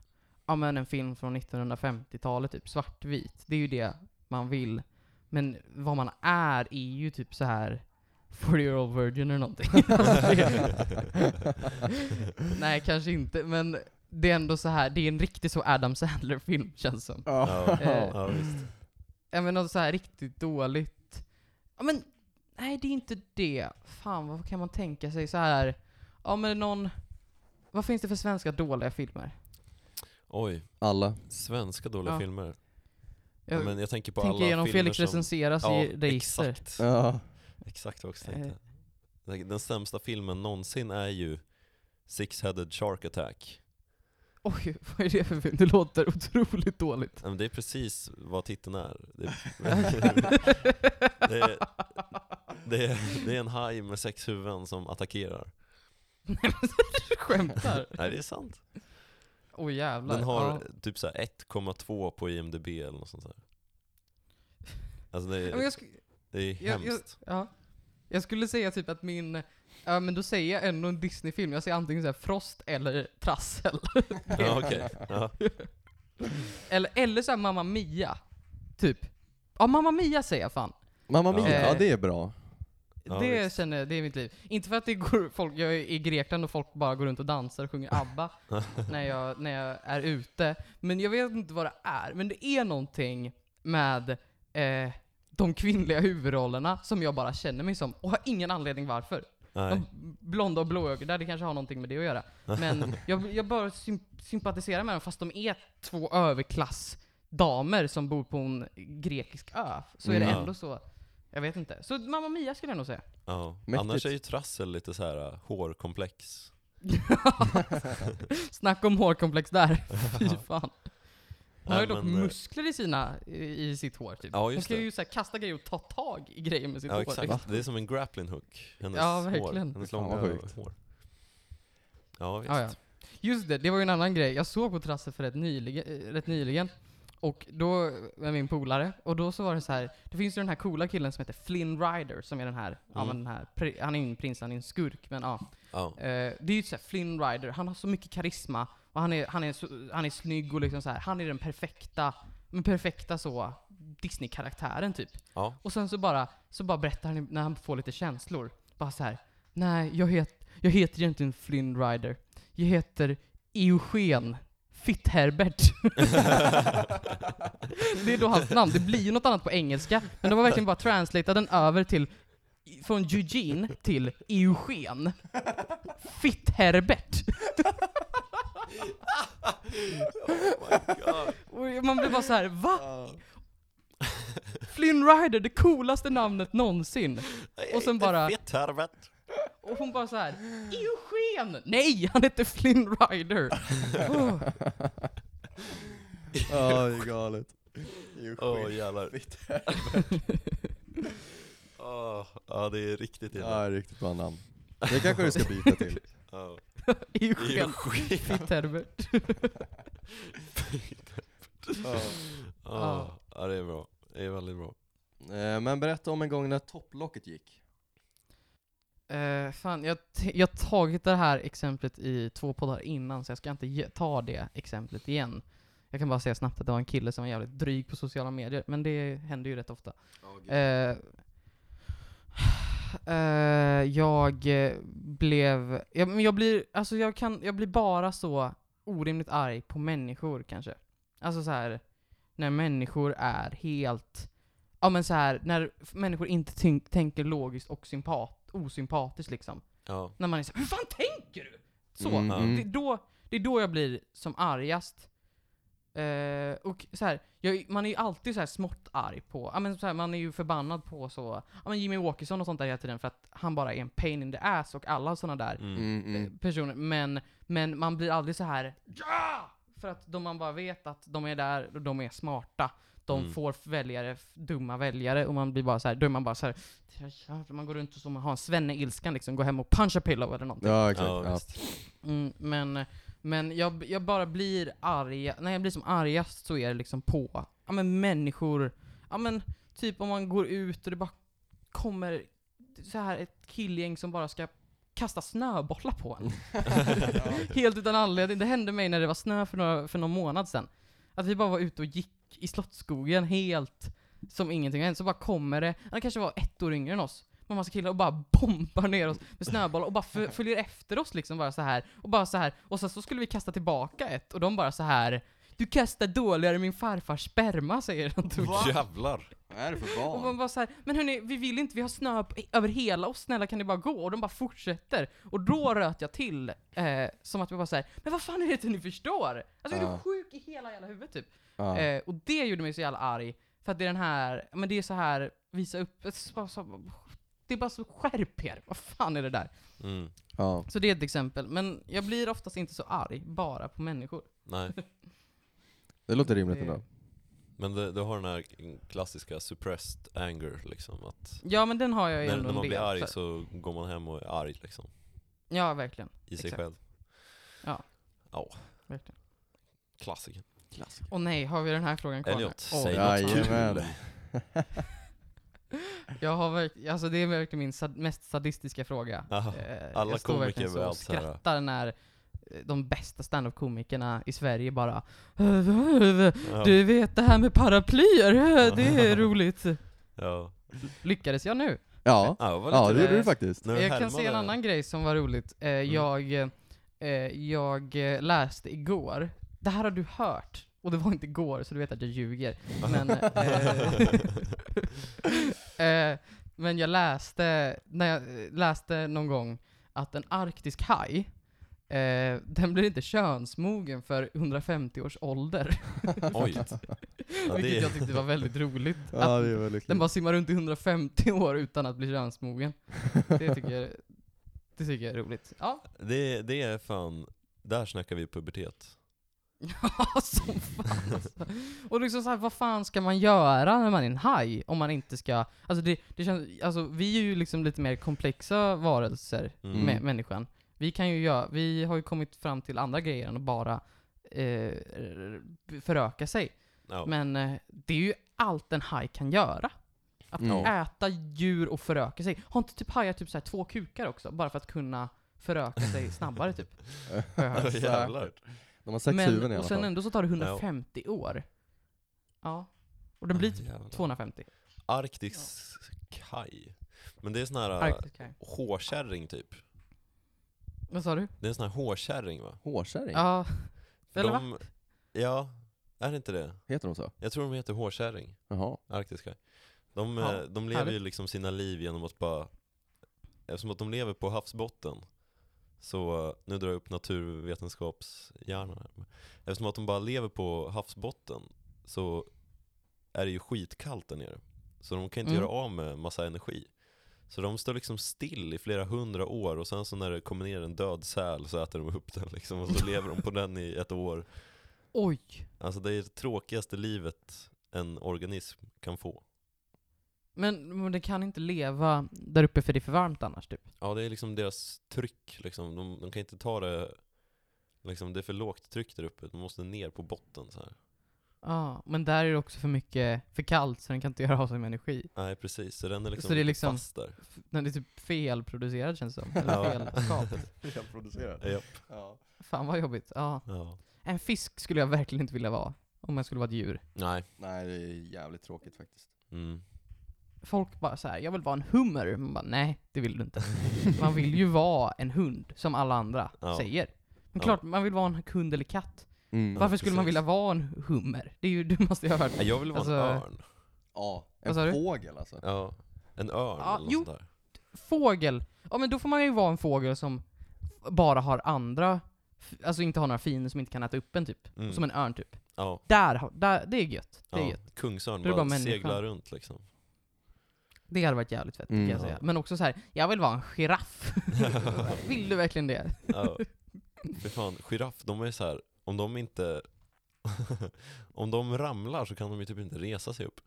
ja men en film från 1950-talet, typ svartvit. Det är ju det man vill. Men vad man är är ju typ så här 40 year old virgin eller någonting. Alltså, det- Nej, kanske inte, men det är ändå så här, det är en riktig så Adam Sandler-film känns som. Ja. Eh, ja, visst. Ja men något så här riktigt dåligt. Ja men, nej det är inte det. Fan vad kan man tänka sig så här? Ja men någon, vad finns det för svenska dåliga filmer? Oj, Alla. svenska dåliga Ja. filmer. Jag men jag tänker på tänker alla genom filmer Felix som... recenseras Ja, i register. exakt. Ja. Exakt vad jag Eh. också tänkte. Den den sämsta filmen någonsin är ju Six-Headed Shark Attack. Oj, vad är det för film? Det låter otroligt dåligt. Ja, men Det är precis vad titeln är. Det, det, är- det, är- det är en haj med sex huvuden som attackerar. Du skämtar? Nej det är sant. Oj jävlar. Den har Ja. typ så här 1,2 på IMDB eller något sånt där. Alltså det Ja, men är, jag, sk- det är jag- jag- hemskt. ja. jag skulle säga typ att min, ja men då säger jag ändå en Disney-film. Jag säger antingen så här Frost eller Trassel. Ja, okej. Ja. Eller, eller så här Mamma Mia, typ. Ja, Mamma Mia säger jag fan. Mamma Ja. Mia, ja Eh. det är bra. Ja, det visst. känner det är mitt liv. Inte för att det går, folk, jag är i Grekland och folk bara går runt och dansar och sjunger ABBA när, jag, när jag är ute. Men jag vet inte vad det är. Men det är någonting med eh, de kvinnliga huvudrollerna som jag bara känner mig som och har ingen anledning varför. Nej. De blonda och blåögda, det kanske har någonting med det att göra. Men jag, jag bara symp- sympatiserar med dem fast de är två överklassdamer som bor på en grekisk ö. Så är det Mm. ändå så. Jag vet inte. Så Mamma Mia skulle jag nog säga. Ja. Mäktigt. Annars är ju trassel lite så här äh, hårkomplex. Snacka om hårkomplex där. Fy fan. Hon har ju Nej, dock men, eh, muskler i, sina, i i sitt hår typ. Ja, Hon just kan det. ju så här, kasta grejer och ta tag i grejer med sitt Ja hår. liksom. exakt, det är som en grappling hook. Hennes Ja, hår. verkligen. Hennes Fan, långa vad sjukt. hår. Ja visst. Ja, ja. Just det, det var ju en annan grej. Jag såg på Trasse för rätt nyligen, eh, rätt nyligen och då med min polare, och då så var det så här. det finns ju den här coola killen som heter Flynn Rider, som är den här, ja Mm. men den här, pri- han är ingen prins, han är en skurk, men ja. Ja. Eh, det är ju såhär Flynn Rider, han har så mycket karisma, och han är, han är, så, han är snygg och liksom så här. han är den perfekta, den perfekta så, Disney-karaktären typ. Ja. Och sen så bara, så bara berättar han när han får lite känslor, bara så här. Nej, jag, het, jag heter egentligen Flynn Rider. Jag heter Eugen Fitt-Herbert. det är då hans namn. Det blir ju något annat på engelska, men de har verkligen bara translatat den över till från Eugene till Eugen. Fitt-Herbert. Oh Och Man blir bara så här, va? Flynn Rider, det coolaste namnet någonsin. Och sen bara- Fett härvet. Och hon bara så här, Eugen! Nej, han heter Flynn Rider! Åh, Ja, det är galet. Åh jävlar. Åh, ja det är riktigt illa. Ja, riktigt bra namn. Det kanske du ska byta till. Ja. Eugen Eugen. Fitt-Herbert. Ja, ja, det är bra. Det är väldigt bra. Eh, Men berätta om en gång när topplocket gick. Eh, fan, jag t- jag har tagit det här exemplet i två poddar innan så jag ska inte ge- ta det exemplet igen. Jag kan bara säga snabbt att det var en kille som var jävligt dryg på sociala medier, men det händer ju rätt ofta. Eh, eh, jag eh, blev... Jag, men jag, blir, alltså jag, kan, jag blir bara så orimligt arg på människor kanske. Alltså så här när människor är helt... Ja men så här när f- människor inte tyn- tänker logiskt och sympat, osympatiskt liksom. Ja. När man är så här, hur fan tänker du? Så. Mm, mm. Det, är då, det är då jag blir som argast. Eh, och så här, jag, man är ju alltid så här smått arg på, ja, men så här, man är ju förbannad på så, ja, men Jimmy Åkesson och sånt där hela tiden för att han bara är en pain in the ass och alla såna där Mm. Mm, eh, mm. personer. Men, men man blir aldrig så här ja! För att de, man bara vet att de är där och de är smarta. De Mm. får väljare, f- dumma väljare och man blir bara så här, då är man bara så här, "Ja, ja." man går runt och så man har en svenne-ilskan liksom, går hem och punchar pillow eller någonting. Ja, exakt. Ja, Ja, visst. Mm, men men jag, jag bara blir arg, när jag blir som argast så är det liksom på, ja men människor, ja men typ om man går ut och det bara kommer så här ett killgäng som bara ska kasta snöbollar på en. Helt utan anledning. Det hände mig när det var snö för, några, för någon månad sedan. Att vi bara var ute och gick i Slottsskogen helt som ingenting hade hänt. Så bara kommer det, han kanske var ett år yngre än oss, med en massa killar och bara bombar ner oss med snöbollar och bara fö- följer efter oss liksom bara så här och bara så här och sen så skulle vi kasta tillbaka ett och de bara så här du kastar dåligare än min farfars sperma säger de typ. Jävlar. Vad är det för Och man barn? bara så här, men hörni, vi vill inte, vi har snö på, över hela oss, snälla kan ni bara gå? Och de bara fortsätter. Och då röt jag till, eh, som att jag bara såhär, men vad fan är det inte ni förstår? Alltså är Ja. du sjuk i hela jävla huvudet typ? Ja. Eh, och det gjorde mig så jävla arg, för att det är den här, men det är så här visa upp, så- så- det är bara så skärp er, vad fan är det där? Mm. Ja. Så det är ett exempel, men jag blir oftast inte så arg, bara på människor. Nej. Det låter rimligt Det- ändå. Men det, det har den här klassiska suppressed anger liksom. Att Ja men den har jag ju när, ändå när man en blir del arg för. så går man hem och är arg liksom. Ja verkligen, I sig Exakt. själv. Ja. Ja, verkligen. klassiker. Och nej, har vi den här frågan kvar nu? Elliot, Åh, säg något kul. Jajamän. Jag har verkligen, alltså det är verkligen min sad- mest sadistiska fråga. Aha. Eh, Alla jag står komiker verkligen så är och allt så här. skrattar när eh, de bästa standup-komikerna i Sverige bara Ja. Du vet det här med paraplyer, eh, det är roligt. Ja. Lyckades jag nu? Ja, Ja, jag var ja lite det gjorde eh, du faktiskt. när du Jag kan härmade- Mm. se en annan grej som var roligt. Eh, Jag, eh, jag eh, läste igår, det här har du hört, och det var inte igår så du vet att jag ljuger. Men, eh, eh, men jag läste, när jag eh, läste någon gång att en arktisk haj, eh, den blir inte könsmogen för 150 års ålder. Oj. Ja, vilket det, jag tyckte var väldigt roligt. Ja, att det är väl lyckligt. den bara simmar runt i 150 år utan att bli könsmogen. Det tycker jag, det tycker jag är roligt. Ja, det, det är fan, där snackar vi pubertet. Ja, som fan alltså. Och liksom så här, vad fan ska man göra när man är en haj? Om man inte ska... Alltså det, det känns... Alltså vi är ju liksom lite mer komplexa varelser, Mm. med människan. Vi kan ju göra... Vi har ju kommit fram till andra grejer än att bara eh, föröka sig. Ja. Men eh, det är ju allt en haj kan göra. Att Mm. äta djur och föröka sig. Har inte typ hajar typ så här två kukar också? Bara för att kunna föröka sig snabbare typ. har jag hört. Ja, jävlar. De har sex huvuden i Men, alla och sen fall. ändå så tar det 150 år. Ja. Och den blir typ Jävlar. 250. Arktisk kaj. Men det är sån här äh, Arktisk haj. hårkärring typ. Vad sa du? Det är en sån här hårkärring va? Hårkärring? Ja. För Eller de, Ja, är det inte det? Heter de så? Jag tror de heter hårkärring, Jaha. arktisk kaj. De, Ja, eh, de lever ju härligt. liksom sina liv genom att bara, eftersom att de lever på havsbotten, så, eh, nu drar jag upp naturvetenskapshjärnan här. Eftersom att de bara lever på havsbotten så är det ju skitkallt där nere. Så de kan inte Mm. göra av med massa energi. Så de står liksom still i flera hundra år och sen så när det kommer ner en död säl så äter de upp den liksom och så lever de på den i ett år. Oj. Alltså det är det tråkigaste livet en organism kan få. Men, men den kan inte leva där uppe för det är för varmt annars typ. Ja, det är liksom deras tryck liksom. De, de kan inte ta det, liksom det är för lågt tryck där uppe. De måste ner på botten så här. Ja, men där är det också för mycket, för kallt så den kan inte göra av sig med energi. Nej precis, så den är liksom, Så det är lite liksom- fast där. F- Den är typ felproducerad känns det som. Eller Ja. felskapad. Välproducerad. Japp. Ja. Fan vad jobbigt. Ja. Ja. En fisk skulle jag verkligen inte vilja vara. Om jag skulle vara ett djur. Nej. Nej, det är jävligt tråkigt faktiskt. Mm. Folk bara så här, jag vill vara en hummer. Man bara, nej det vill du inte. Man vill ju vara en hund, som alla andra Ja. säger. Ja. Men klart, man vill vara en hund eller katt. Mm. Varför skulle man precis. vilja vara en hummer? Det är ju det måste jag ha hört. Nej, Jag vill vara en Alltså- örn. Ja, Vad sa du? en fågel alltså. Ja. En örn Ja, eller något jo. sånt där. Fågel. Ja men då får man ju vara en fågel som bara har andra, f- alltså inte har några fin som inte kan äta upp en typ. Mm. Som en örn typ. Ja. Där, har- där, det är gött. Det är ja. gött. Kungsörn Då är det bara, bara människan. seglar runt liksom. Det hade varit jävligt fett Mm. kan jag Ja. säga. Men också så här, jag vill vara en giraff. vill du verkligen det? Ja. För fan, giraff, de är så här, om de inte Om de ramlar så kan de ju typ inte resa sig upp.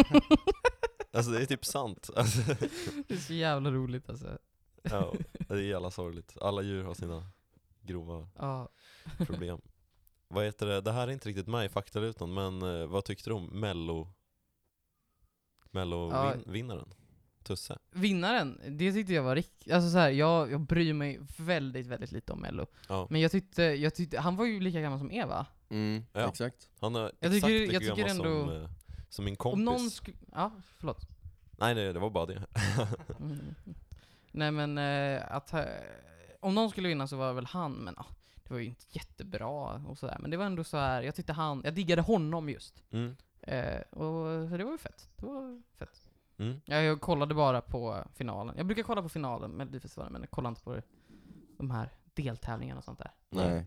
Alltså det är typ sant. Alltså, det är så jävla roligt alltså. ja, det är jävla sorgligt. Alla djur har sina grova Ja. problem. Vad heter det? Det här är inte riktigt med i faktarutan, men eh, vad tyckte du om Mello Ja. Mello-vinnaren? Tusse? Vinnaren, det tyckte jag var riktigt, alltså så här, jag, jag bryr mig väldigt, väldigt lite om Mello. Ja. Men jag tyckte, jag tyckte, han var ju lika gammal som Eva. Mm, Ja. exakt. Han är Jag exakt tycker- lika jag tycker gammal som, ändå- eh, som min Om kompis. någon skulle, ja, förlåt. Nej, nej, det var bara det. Mm. Nej men, eh, att, eh, om någon skulle vinna så var det väl han, men ja, det var ju inte jättebra och sådär. Men det var ändå så här, jag tyckte han, jag diggade honom just. Mm. Eh, och, så det var ju fett. Det var fett. Mm. Ja, jag kollade bara på finalen. Jag brukar kolla på finalen med Melodifestivalen, men jag kollar inte på det, de här deltävlingarna och sånt där. Nej. Nej.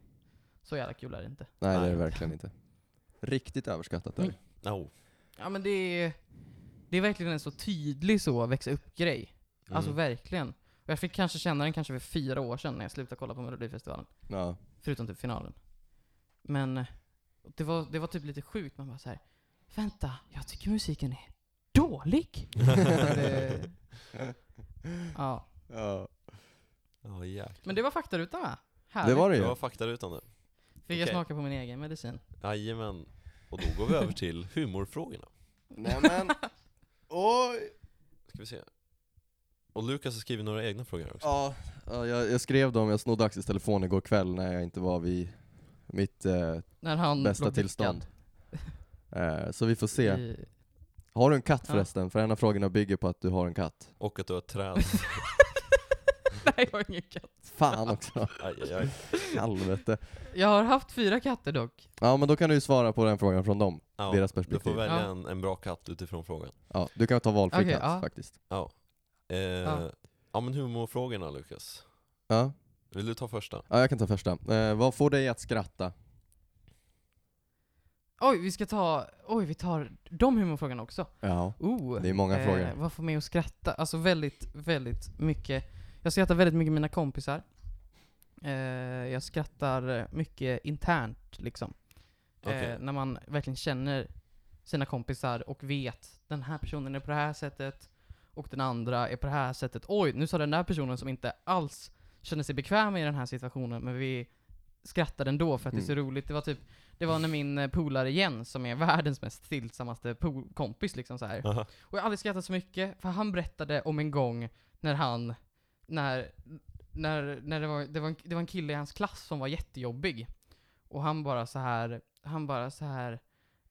Så jävla kul är det inte. Nej, det är Nej. det verkligen inte. Riktigt överskattat där. Mm. No. Ja men det är, det är verkligen en så tydlig så växa upp-grej. Mm. Alltså verkligen. Och jag fick kanske känna den kanske för fyra år sedan när jag slutade kolla på Melodifestivalen. Ja. Förutom typ finalen. Men eh, det var, det var typ lite sjukt. Man bara så här. vänta, jag tycker musiken är dålig. det, ja. ja. Ja, jäklar. Men det var faktarutan va? Härligt. Det var det Det ju. var faktarutan det. Fick jag okej. smaka på min egen medicin. Jajamän. Och då går vi över till humorfrågorna. Nämen. Oj! Ska vi se. Och Lukas har skrivit några egna frågor här också. Ja, ja jag, jag skrev dem, jag snodde Axels telefon igår kväll när jag inte var vid mitt eh, När han bästa blev blickad tillstånd. Eh, så vi får se. I, Har du en katt Mm. Ja. förresten? För en av frågorna bygger på att du har en katt. Och att du har ett träd. Nej, jag har ingen katt. Fan också, Aj, aj, aj. helvete. Jag har haft fyra katter dock. Ja men då kan du ju svara på den frågan från dem. Ja, Deras du får perspektiv. välja Ja. en, en bra katt utifrån frågan. Ja, du kan ta valfri Okej, katt ja. faktiskt. Ja. Eh, ja. men humorfrågorna Lukas. Ja. Vill du ta första? ja, jag kan ta första. Eh, vad får dig att skratta? Oj, vi ska ta... Oj, vi tar de humorfrågorna också. Ja. Oh, Det är många frågor. Vad får mig att skratta? Alltså väldigt, väldigt mycket. Jag skrattar väldigt mycket med mina kompisar. Eh, jag skrattar mycket internt liksom. Okej. Eh, när man verkligen känner sina kompisar och vet den här personen är på det här sättet och den andra är på det här sättet. Oj, nu sa den där personen som inte alls känner sig bekväm i den här situationen men vi skrattade ändå för att det är så roligt. Det var typ, det var när min eh, polare Jens som är världens mest stillsammaste pol- kompis liksom så här. Aha. Och jag har aldrig skrattat så mycket, för han berättade om en gång när han, när, när, när det, var, det, var en, det var en kille i hans klass som var jättejobbig. Och han bara så här, han bara så här,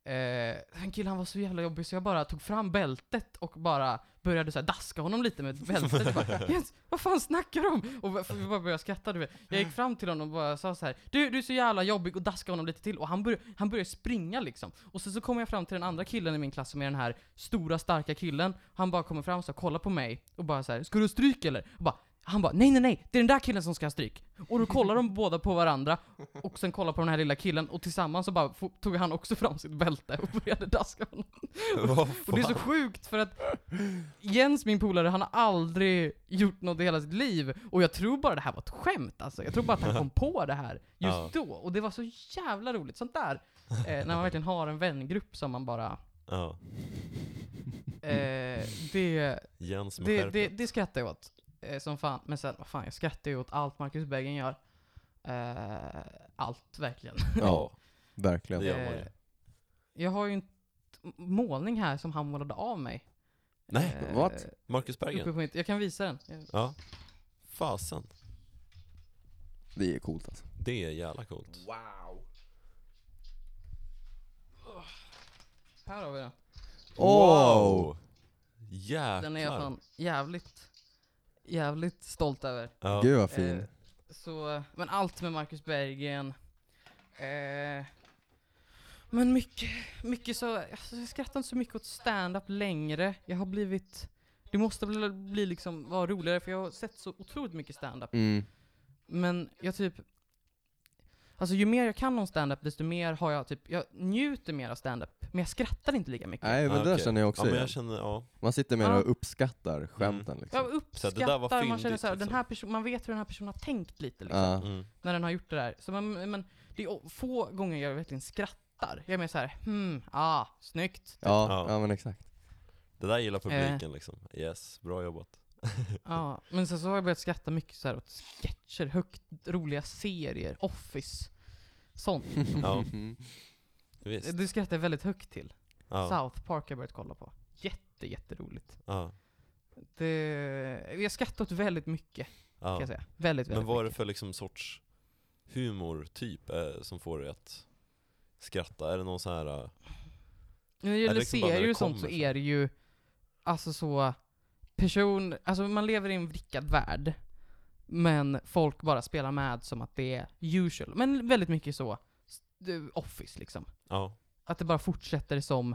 eh, den killen han var så jävla jobbig så jag bara tog fram bältet och bara började så här daska honom lite med bältet. Jag bara, Jens, vad fan snackar du om? Och vi bara började skratta du vet. Jag gick fram till honom och bara sa så här, du, du är så jävla jobbig och daskade honom lite till. Och han, börj- han började springa liksom. Och sen så kommer jag fram till den andra killen i min klass som är den här stora starka killen. Han bara kommer fram och så här, kollar på mig och bara så här, ska du ha stryk eller? Och bara, han bara, nej nej nej, det är den där killen som ska ha stryk. Och då kollar de båda på varandra och sen kollar på den här lilla killen och tillsammans så bara fo- tog han också fram sitt bälte och började daska honom. Vad Och det är så fan? sjukt för att Jens, min polare, han har aldrig gjort något i hela sitt liv. Och jag tror bara det här var ett skämt alltså. Jag tror bara att han kom på det här just Ja. då. Och det var så jävla roligt. Sånt där, eh, när man verkligen har en vängrupp som man bara... Ja. Eh, det, Jens med det, det, skärpet. det skrattar jag åt. Eh, som fan. Men sen, vad fan, jag skrattar ju åt allt Marcus Berggren gör. Eh, allt, verkligen. Ja, verkligen. Det gör man ju. Eh, Jag har ju en t- målning här som han målade av mig. Nej, Eh, what? Marcus Uppe Berggren. på mitt, jag kan visa den. Jag- Ja. Fasen. Det är coolt alltså. Det är jävla coolt. Här har vi den. Wow! Jäklar. Den är jag fan jävligt, jävligt stolt över. Ja. Gud vad fin. Eh, så, men allt med Marcus Berggren. Eh, men mycket, mycket så, alltså jag skrattar inte så mycket åt stand-up längre. Jag har blivit, det måste bli, bli liksom, vara roligare för jag har sett så otroligt mycket stand-up. Mm. Men jag typ, alltså ju mer jag kan om stand-up desto mer har jag typ, jag njuter mer av stand-up, men jag skrattar inte lika mycket. Nej men Ja, det där okej. känner jag också Ja, men igen. jag känner, ja. Man sitter mer Ja. och uppskattar skämten liksom. Jag uppskattar, Så det där var man känner fyndigt, såhär, den liksom. här person, man vet hur den här personen har tänkt lite liksom, Ja. Mm. när den har gjort det där. Så man, men det är o- få gånger jag verkligen skrattar. Jag är mer såhär, hmm, ah, snyggt. Ja, Ja. ja men exakt. Det där gillar Eh. publiken liksom. Yes, bra jobbat. Ja. Men sen så har jag börjat skratta mycket så här åt sketcher, högt, roliga serier, Office, sånt. Ja. Mhm. Visst. Du skrattar jag väldigt högt till. Ja. South Park har jag börjat kolla på. Jätte, jätteroligt. Ja. Det, jag skrattar åt väldigt mycket, kan Ja. jag säga. Väldigt, väldigt Men vad är det mycket. för liksom sorts humortyp eh, som får dig att skratta? Är det någon sån här... eh, När Ja, det gäller det är liksom bara när serier det och sånt så kommer så. är det ju, alltså så, person, alltså man lever i en vrickad värld. Men folk bara spelar med som att det är usual. Men väldigt mycket så, s- det- office liksom. Ja. Att det bara fortsätter som,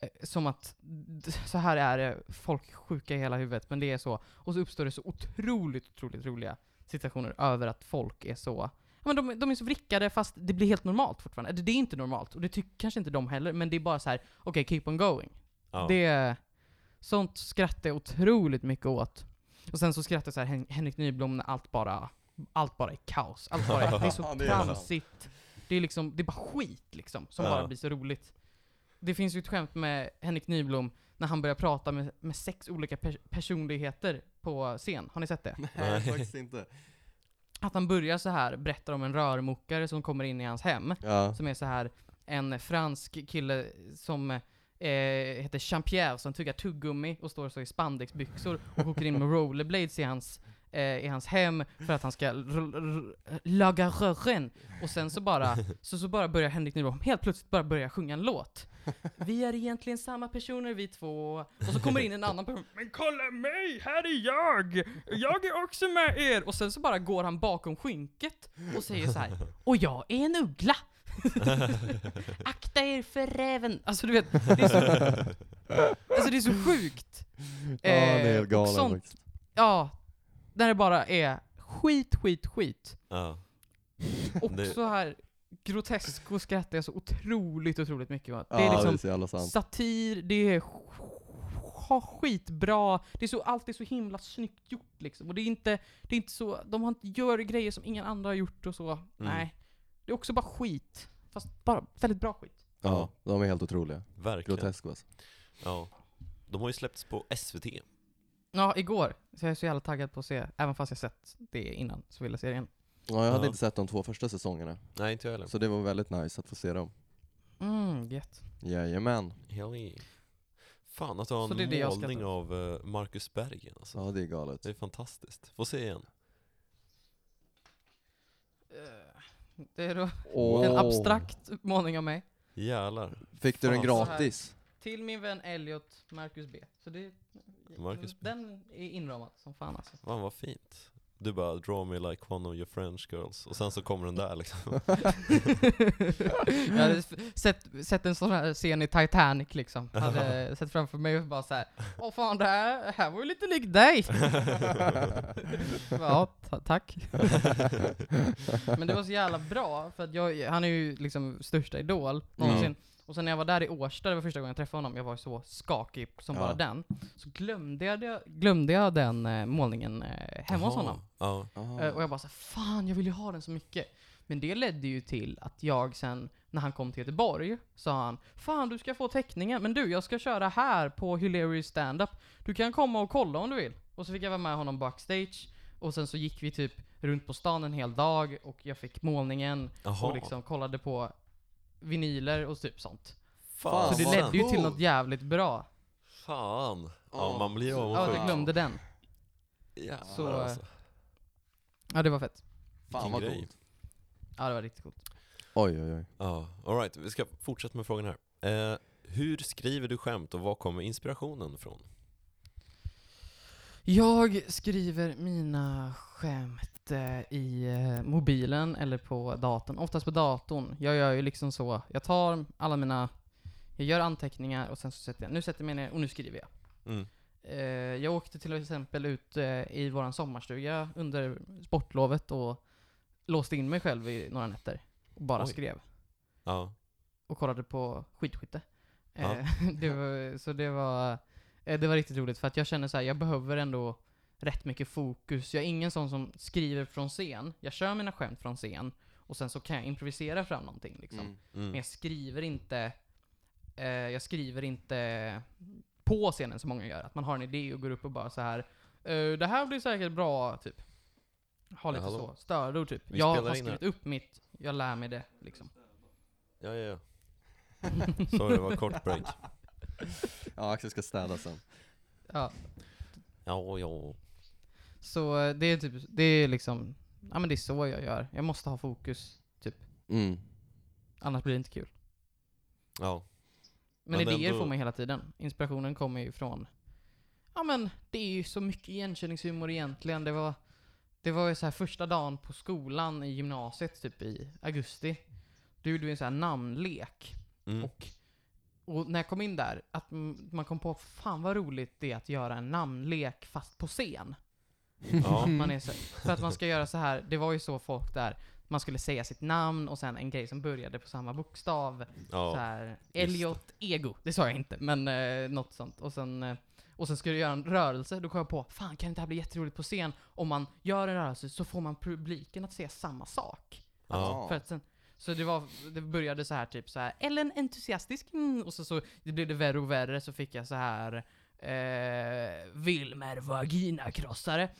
eh, som att d- så här är det, folk är sjuka i hela huvudet, men det är så. Och så uppstår det så otroligt, otroligt roliga situationer över att folk är så, ja men de, de är så vrickade fast det blir helt normalt fortfarande. Eller det är inte normalt, och det tycker kanske inte de heller, men det är bara så här: okej keep on going. ja. Det, sånt skrattar jag otroligt mycket åt. Och sen så skrattar jag så här Hen- Henrik Nyblom när allt bara, allt bara är kaos. Allt bara är, det är så Ja, det är sant. tramsigt. Det är liksom, det är bara skit liksom, som Ja. bara blir så roligt. Det finns ju ett skämt med Henrik Nyblom när han börjar prata med, med sex olika pers- personligheter på scen. Har ni sett det? Nej faktiskt inte. Att han börjar så här berättar om en rörmokare som kommer in i hans hem. Ja. Som är så här en fransk kille som eh, heter Jean-Pierre som tuggar tuggummi och står så i spandexbyxor och åker in med rollerblades i hans, eh, i hans hem för att han ska r- r- r- laga rören. Och sen så bara, så, så bara börjar Henrik Nyblom helt plötsligt bara börja sjunga en låt. Vi är egentligen samma personer vi två. Och så kommer in en annan person. Men kolla mig, här är jag! Jag är också med er! Och sen så bara går han bakom skynket och säger så här. Och jag är en uggla! Typ. Akta er för räven! Alltså du vet, det är så, alltså, det är så sjukt. Ja, han är Eh, helt och galen sånt- faktiskt. Ja, när det bara är skit, skit, skit. Ja. Och Det- så här grotesko skrattar jag så otroligt, otroligt mycket va? Det ja, är det är liksom så jävla sant. satir, det är sk- skitbra, det är så, allt är så himla snyggt gjort liksom. Och det är inte, det är inte så, de har inte, gör grejer som ingen andra har gjort och Mm. så. Nej. Det är också bara skit. Fast bara väldigt bra skit. Ja, de är helt otroliga. Verkligen. Groteska alltså. Ja. De har ju släppts på SVT. Ja, igår. Så jag är så jävla taggad på att se, även fast jag sett det innan, så vill jag se det igen. Ja, jag hade Ja. inte sett de två första säsongerna, Nej, inte jag heller. så det var väldigt nice att få se dem. Mm, gött. Jajamän. Hell yeah. Fan att du har Så en det är det jag målning skrattar. av eh, Marcus Bergen alltså. Ja, det är galet. Det är fantastiskt. Få se igen. Eh, Det är då Åh. en abstrakt målning av mig. Jävlar. Fick du den Fan. gratis? Till min vän Elliot, Marcus B. Så det, Marcus B. den är inramad som fan alltså. Fan vad fint. Du bara 'draw me like one of your French girls' och sen så kommer den där liksom. jag hade f- sett, sett en sån här scen i Titanic liksom. Hade sett framför mig och bara så här. Åh fan det här, här var ju lite lik dig! ja, ta- tack. Men det var så jävla bra, för att jag, han är ju liksom största idol någonsin. Och sen när jag var där i Årsta, det var första gången jag träffade honom, jag var så skakig som Ja. bara den. Så glömde jag, det- glömde jag den eh, målningen eh, hemma hos Jaha. honom. Ja. Ah. Eh, Och jag bara så här, fan jag vill ju ha den så mycket. Men det ledde ju till att jag sen, när han kom till Göteborg, sa han Fan du ska få teckningen, men du jag ska köra här på Hilarious Standup. Du kan komma och kolla om du vill. Och så fick jag vara med honom backstage, och sen så gick vi typ runt på stan en hel dag, och jag fick målningen, Jaha. och liksom kollade på vinyler och typ sånt. Fan, Så det vad ledde ju till cool. något jävligt bra. Fan. Ja, Åh. man blir Ja, avundsjuk. jag glömde den. Jävlar Så, eh, alltså. Ja, det var fett. Fan Vilken vad grej. coolt. Ja, det var riktigt coolt. Oj, oj, oj. Ja, alright. Vi ska fortsätta med frågan här. Eh, hur skriver du skämt och var kommer inspirationen ifrån? Jag skriver mina skämt eh, i eh, mobilen eller på datorn. Oftast på datorn. Jag gör ju liksom så. Jag tar alla mina... Jag gör anteckningar och sen så sätter jag... Nu sätter jag mig ner och nu skriver jag. Mm. Eh, jag åkte till exempel ut eh, i våran sommarstuga under sportlovet och låste in mig själv i några nätter. Och bara Oj. skrev. Ja. Och kollade på skidskytte. Ja. Eh, det var, så det var, eh, det var riktigt roligt för att jag känner så här, jag behöver ändå rätt mycket fokus. Jag är ingen sån som skriver från scen. Jag kör mina skämt från scen och sen så kan jag improvisera fram någonting liksom. Men Mm. jag skriver inte eh, Jag skriver inte på scenen som många gör. Att man har en idé och går upp och bara så här. Eh, det här blir säkert bra, typ. Har lite Hallå. så, störord typ. Vi jag spelar har in här. skrivit upp mitt, jag lär mig det liksom. Ja, ja, ja. Sorry, det var kort break. Ja, Axel ska städa sen. Ja. Ja, ja. Så eh, det är typ, det är liksom, ja men det är så jag gör. Jag måste ha fokus, Mm. annars blir det inte kul. Ja, Men, Men idéer ändå- får man hela tiden. Inspirationen kommer ju från, ja men det är ju så mycket igenkänningshumor egentligen. Det var, det var ju så här första dagen på skolan i gymnasiet typ i augusti. Då gjorde vi en så här namnlek. mm. Och, och när jag kom in där, att m- man kom på fan vad roligt det är att göra en namnlek fast på scen. ja. Man är så, för att man ska göra så här, det var ju så folk där, man skulle säga sitt namn och sen en grej som började på samma bokstav. Så ja. här, Elliot Ego, det sa jag inte, men eh, något sånt. Och sen, eh, och sen skulle jag göra en rörelse, då kom jag på, fan kan inte det här bli jätteroligt på scen? Om man gör en rörelse så får man publiken att säga samma sak. ja. För att sen, så det, var, det började så här typ så här, Ellen entusiastisk, mm, och så, så det blev det värre och värre, så fick jag så här Eh, Wilmer vaginakrossare.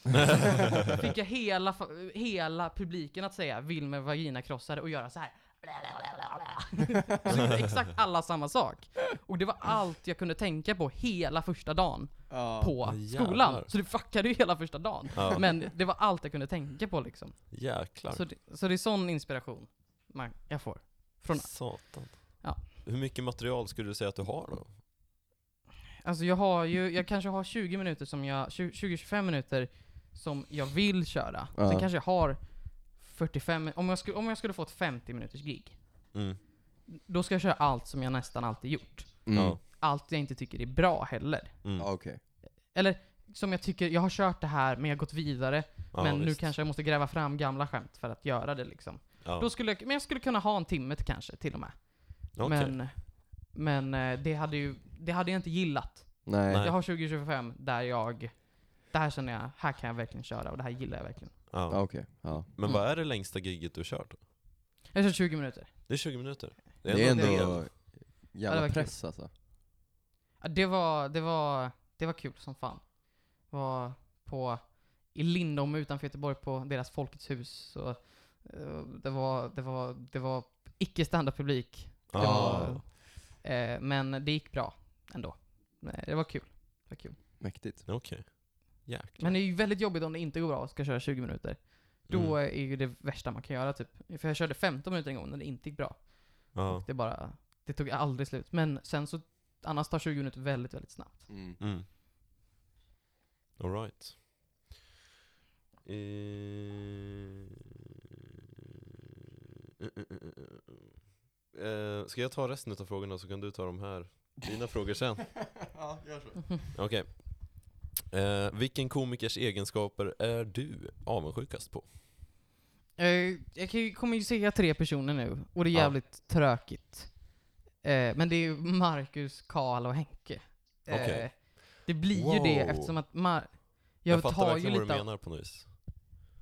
Så fick jag hela, fa- hela publiken att säga Wilmer vaginakrossare och göra så här. Och så gjorde exakt alla samma sak. Och det var allt jag kunde tänka på hela första dagen Ja. på jävlar. skolan. Så det fuckade ju hela första dagen. Ja. Men det var allt jag kunde tänka på liksom. Jäklar. Så det, så det är sån inspiration man, jag får. Från, Satan. Ja. hur mycket material skulle du säga att du har då? Alltså jag har ju, jag kanske har 20 minuter som jag, 20-25 minuter som jag vill köra. Ja. Sen kanske jag har 45, om jag, skulle, om jag skulle få ett 50 minuters gig, Mm. då ska jag köra allt som jag nästan alltid gjort. Mm. Ja. Allt jag inte tycker är bra heller. Mm. Ah, Okej. Eller som jag tycker, jag har kört det här men jag har gått vidare, Ja, men nu visst. kanske jag måste gräva fram gamla skämt för att göra det liksom. Ja. Då skulle jag, men jag skulle kunna ha en timme till kanske till och med. Okej. Men, men eh, det hade ju, det hade jag inte gillat. Nej. Nej. Jag har 2025 där jag, det här känner jag, här kan jag verkligen köra och det här gillar jag verkligen. Ja. Ah, Okej. Ja. Men vad är det längsta giget du har kört? då? Jag kör 20 minuter. Det är 20 minuter. Det är ändå Ja, det jävla var kul. press alltså. Ja, Det var, det var, det var kul som fan. Var på, i Lindom utanför Göteborg på deras Folkets hus. Och, eh, det var, det var, det var icke standard publik. Det Ja. var, eh, men det gick bra ändå. Nej, Det var kul. Det var kul. Mäktigt. Okej. Jäklar. Men det är ju väldigt jobbigt om det inte går bra och ska köra 20 minuter. Då Mm. är ju det värsta man kan göra typ. För jag körde 15 minuter en gång när det inte gick bra. Ja. Det bara, det tog aldrig slut. Men sen så, annars tar 20 minuter väldigt, väldigt snabbt. Mm. Mm. Alright. Eh, eh, ska jag ta resten av frågorna så kan du ta de här, dina frågor sen? ja, gör så. Okej. Eh, vilken komikers egenskaper är du avundsjukast på? Eh, Jag kan ju- kommer ju säga tre personer nu, och det är Ja. jävligt tråkigt. Eh, Men det är ju Marcus, Karl och Henke. Eh, Okej. Det blir ju det Wow. eftersom att Mar- Jag, jag, fattar tar ju verkligen vad du lite av, menar på något vis.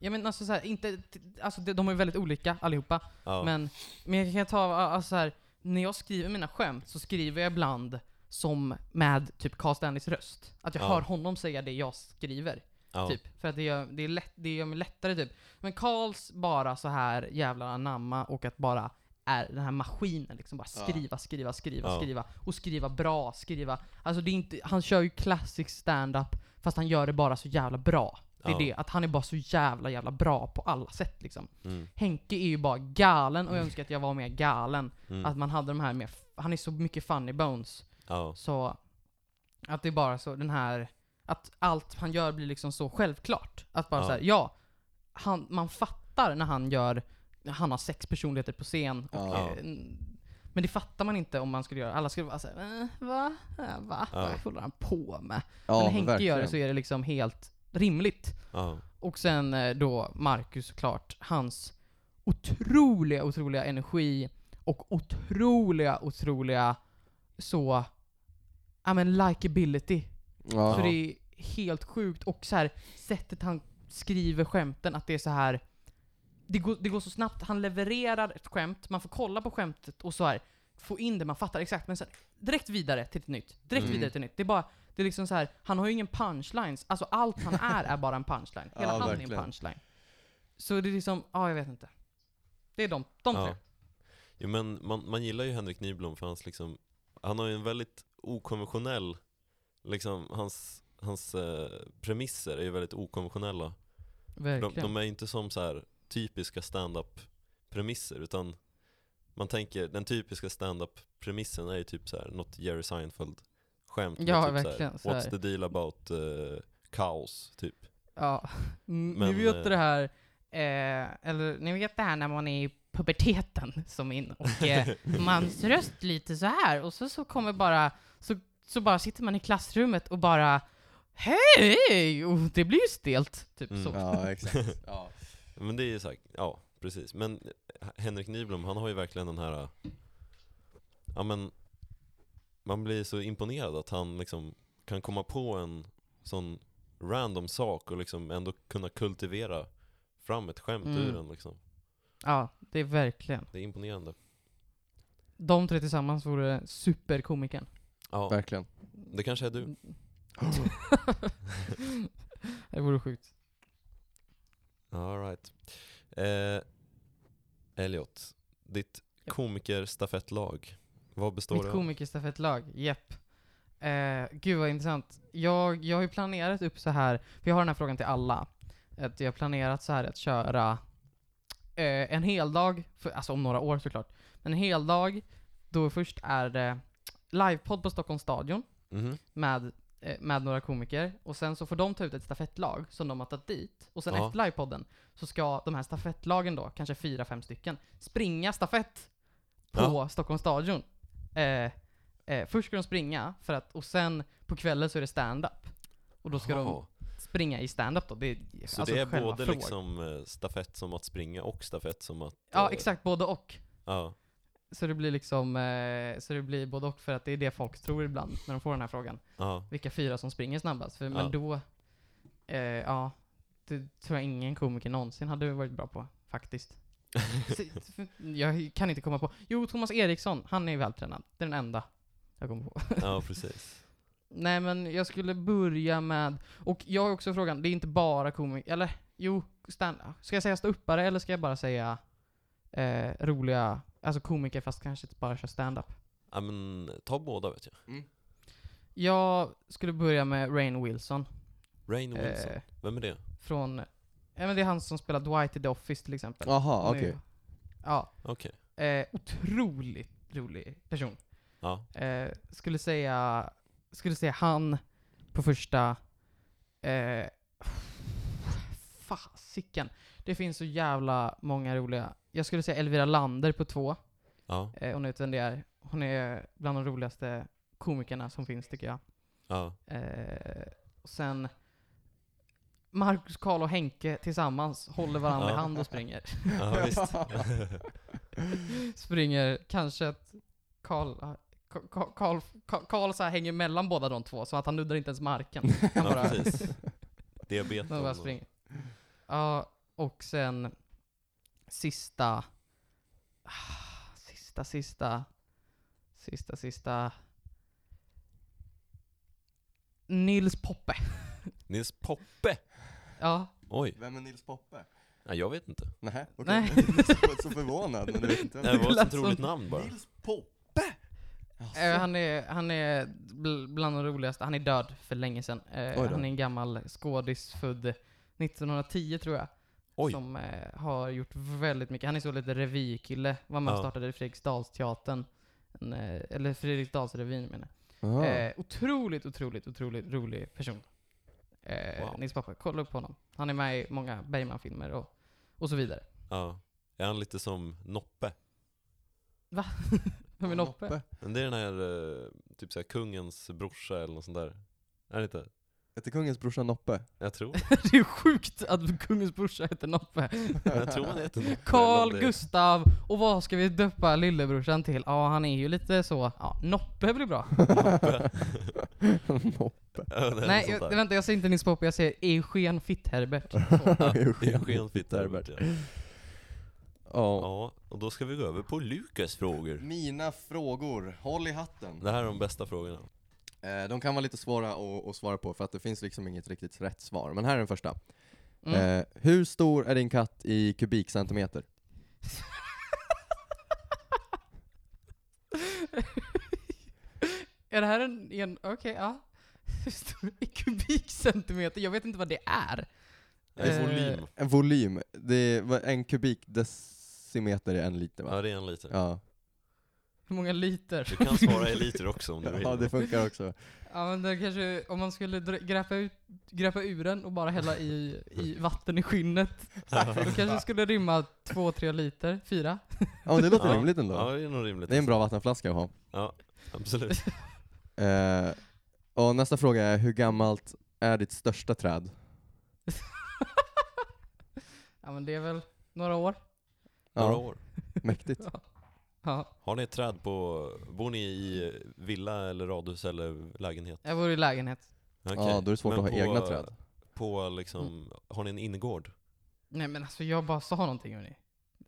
Ja men alltså så här, inte, alltså de de är ju väldigt olika allihopa. Ja. Men, men jag kan ta, alltså så här, när jag skriver mina skämt så skriver jag ibland som med typ Carl Stanleys röst. Att jag Ja. hör honom säga det jag skriver. ja. Typ. För att det gör, det, är lätt, det gör mig lättare typ. Men Carls bara så här jävla anamma och att bara är den här maskinen liksom. Bara Ja. skriva, skriva, skriva, Ja. skriva. Och skriva bra, skriva. Alltså det är inte, han kör ju classic stand-up fast han gör det bara så jävla bra. Det är Ja. det, att han är bara så jävla jävla bra på alla sätt liksom. Mm. Henke är ju bara galen och jag önskar att jag var mer galen. Mm. Att man hade de här mer, han är så mycket funny bones. Ja. Så att det är bara så den här, att allt han gör blir liksom så självklart. Att bara Ja. så här, ja, han, man fattar när han gör, han har sex personligheter på scen. Och, Ja. eh, n- Men det fattar man inte om man skulle göra, alla skulle bara säga eh, va? Eh, va? Ja. Vad håller han på med? Ja, men Henke verkligen. gör det så är det liksom helt rimligt. Ja. Och sen eh, då Marcus såklart, hans otroliga, otroliga energi och otroliga, otroliga så, ja men likeability. Ja. Så det är helt sjukt. Och så här sättet han skriver skämten, att det är så här det går, det går så snabbt, han levererar ett skämt, man får kolla på skämtet och så här få in det, man fattar exakt, men sen direkt vidare till ett nytt. Direkt Mm. vidare till ett nytt. Det är bara, det är liksom så här, han har ju ingen punchlines, alltså allt han är är bara en punchline. Hela Ja, han är en verkligen. punchline. Så det är liksom, ja jag vet inte. Det är de, de Ja. tre. Jo, men man, man gillar ju Henrik Nyblom för hans liksom, han har ju en väldigt okonventionell, liksom hans, hans eh, premisser är ju väldigt okonventionella. De, Verkligen. de är ju inte som så här typiska stand-up premisser utan man tänker, den typiska stand-up premissen är ju typ så här något Jerry Seinfeld skämt. med Ja, typ verkligen, Så så här, här. What's the deal about eh, kaos, typ. Ja, N- ni Men, vet eh, det här, eh, eller ni vet det här när man är i puberteten som in och eh, mans röst lite så här och så, så kommer bara, så, så bara sitter man i klassrummet och bara Hej! Och det blir ju stelt, typ Mm. så. Ja, exakt. Ja. Men det är ju så här, ja precis. Men eh, Henrik Nyblom, han har ju verkligen den här, äh, ja men, man blir så imponerad att han liksom kan komma på en sån random sak och liksom ändå kunna kultivera fram ett skämt Mm. ur den liksom. Ja, det är verkligen. Det är imponerande. De tre tillsammans vore superkomikern. Ja, Verkligen. det kanske är Mm. du. det vore sjukt. Alright. Eh, Elliot, ditt komikerstafettlag, vad består det Mitt av? komikerstafettlag, jepp. Eh, gud vad intressant. Jag, jag har ju planerat upp så här, för jag har den här frågan till alla. Att jag har planerat så här att köra eh, en hel dag, för, alltså om några år såklart, men en hel dag då först är det livepodd på Stockholms stadion Mhm. med, eh, med några komiker, och sen så får de ta ut ett stafettlag som de har tagit dit, och sen Ja. efter livepodden så ska de här stafettlagen då, kanske fyra, fem stycken, springa stafett på Stockholms stadion. Eh, eh, först ska de springa, för att, och sen på kvällen så är det stand-up. Och då ska de Jaha. springa i stand-up då. Det är, Så alltså det är själva både frågan. liksom eh, stafett som att springa och stafett som att... Ja, eh, exakt, både och. Ja. Så det blir liksom, eh, så det blir både och för att det är det folk tror ibland när de får den här frågan. ja. Vilka fyra som springer snabbast. För, Ja. Men då, eh, ja, det tror jag ingen komiker någonsin hade varit bra på, faktiskt. Så- för- jag kan inte komma på. Jo, Thomas Eriksson, han är vältränad. Det är den enda jag kommer på. ja, precis. Nej men jag skulle börja med, och jag har också frågan, det är inte bara komiker, eller jo, stand Ska jag säga ståuppare eller ska jag bara säga eh, roliga, alltså komiker fast kanske inte bara kör stand-up? Ja, men ta båda vet jag. Jag skulle börja med Rainn Wilson. Rain Wilson, Eh, vem är det? från, ja men det är han som spelar Dwight i The Office till exempel. Aha, Han är- okej. Ja. Okej. Eh, otroligt rolig person. Ja. Eh, skulle säga, skulle säga han på första, eh, fasiken. Det finns så jävla många roliga. Jag skulle säga Elvira Lander på två. Ja, Eh, hon är utvändigare. Hon är bland de roligaste komikerna som finns tycker jag. ja. Eh, och sen Marcus, Karl och Henke tillsammans håller varandra i Ja. hand och springer. ja visst. springer kanske att Karl Karl- Karl Karl så här hänger mellan båda de två, så att han nuddar inte ens marken. Han Ja, bara, precis. Diabetes. han bara springer. Ja, och sen sista... ah, Sista, sista... Sista, sista... Nils Poppe. Nils Poppe! Ja, Oj, Vem är Nils Poppe? nej, jag vet inte. Nej, okej. Nej. Jag var så förvånad, men det vet inte. Det Det var ett lät sånt roligt som- namn bara. Nils Poppe! Alltså. Eh, han är, han är bl- bland de roligaste. Han är död för länge sedan. Eh, Oj då. han är en gammal skådis född 1910 tror jag. Oj. Som eh, har gjort väldigt mycket. Han är så lite revykille. Var med och Ja. startade Fredriksdalsteatern. En, eh, eller Fredriksdalsrevyn menar Ah. jag. Eh, otroligt, otroligt, otroligt rolig person. Eh, Wow. Nils pappa, kolla upp honom. Han är med i många Bergman-filmer och, och så vidare. Ja. Är han lite som Noppe? Va? Vem är Noppe? Men det är den här, eh, typ såhär kungens brorsa eller något sånt där. Är det inte? Heter kungens brorsa Noppe? Jag tror det är sjukt att kungens brorsa heter Noppe. Jag tror han heter Noppe. Carl eller om det- Gustav, och vad ska vi döpa lillebrorsan till? Ja, han är ju lite så, ja, Noppe blir bra. Noppe. Ja, det är Nej, något sånt jag, där. vänta, jag säger inte Nils Poppe, jag säger Eugen Fitt-Herbert. Eugen Fitzherbert. Ja. Ja. ja, och då ska vi gå över på Lukas frågor. Mina frågor, håll i hatten. Det här är de bästa frågorna. Eh, de kan vara lite svåra att, att svara på för att det finns liksom inget riktigt rätt svar. Men här är den första. Mm. Eh, hur stor är din katt i kubikcentimeter? Är det här en, en okej, ja. Hur stor är kubikcentimeter? Jag vet inte vad det är. Det är Eh, volym. En volym, det är, vad- en kubikdecimeter är en liter Ja, va? det är en liter. Ja, Hur många liter? Du kan svara i liter också om du vill. ja det funkar också. Ja men det kanske, om man skulle dra- gräpa, ut, gräpa ur den och bara hälla i, i vatten i skinnet, då kanske det skulle rymma två, tre liter, fyra. Ja men det låter Ja. rimligt ändå. Ja, det är nog rimligt. Det är en bra vattenflaska att ha. Ja, absolut. Eh, och nästa fråga är, hur gammalt är ditt största träd? Ja men det är väl några år. Några Ja, år. mäktigt. Ja, Har ni ett träd på... Bor ni i villa eller radhus eller lägenhet? jag bor i lägenhet. Okej. Ja, då är det svårt Men att ha på- eh, egna träd. På liksom... Har ni en ingård? Nej men alltså jag bara sa någonting hörni.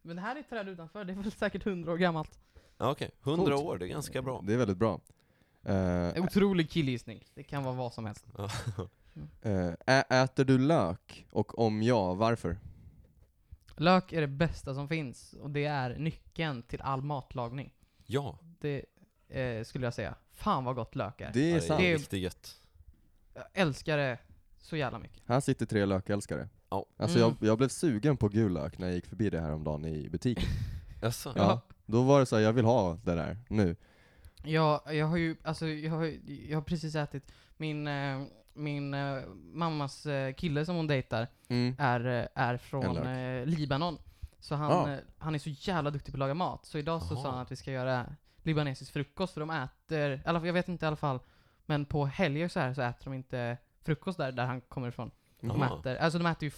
Men det här är ett träd utanför, det är väl säkert hundra år gammalt. Ja, okej. 100 Coolt. år, det är ganska bra. Det är väldigt bra. Eh, Otrolig killgissning. Det kan vara vad som helst. Ja. eh, ä- äter du lök? Och om ja, varför? Lök är det bästa som finns och det är nyckeln till all matlagning. Ja, Det eh, skulle jag säga. Fan vad gott lök är. Det ja, är det sant. är Det- riktigt gött. Jag älskar det så jävla mycket. Här sitter tre lökälskare. Ja. Alltså Mm. jag, jag blev sugen på gul lök när jag gick förbi det här om dagen i butiken. Jaså? Ja. Då var det så här, jag vill ha det där nu. Jag, jag har ju, alltså jag har, jag har precis ätit, min, eh, min eh, mammas eh, kille som hon dejtar Mm. är, eh, är från Eller? eh, Libanon. Så han, Ah. eh, han är så jävla duktig på att laga mat. Så idag så sa Aha. han att vi ska göra libanesisk frukost, för de äter, i alla fall- jag vet inte i alla fall, men på helger så här så äter de inte frukost där, där han kommer ifrån. De Aha. äter, alltså de äter ju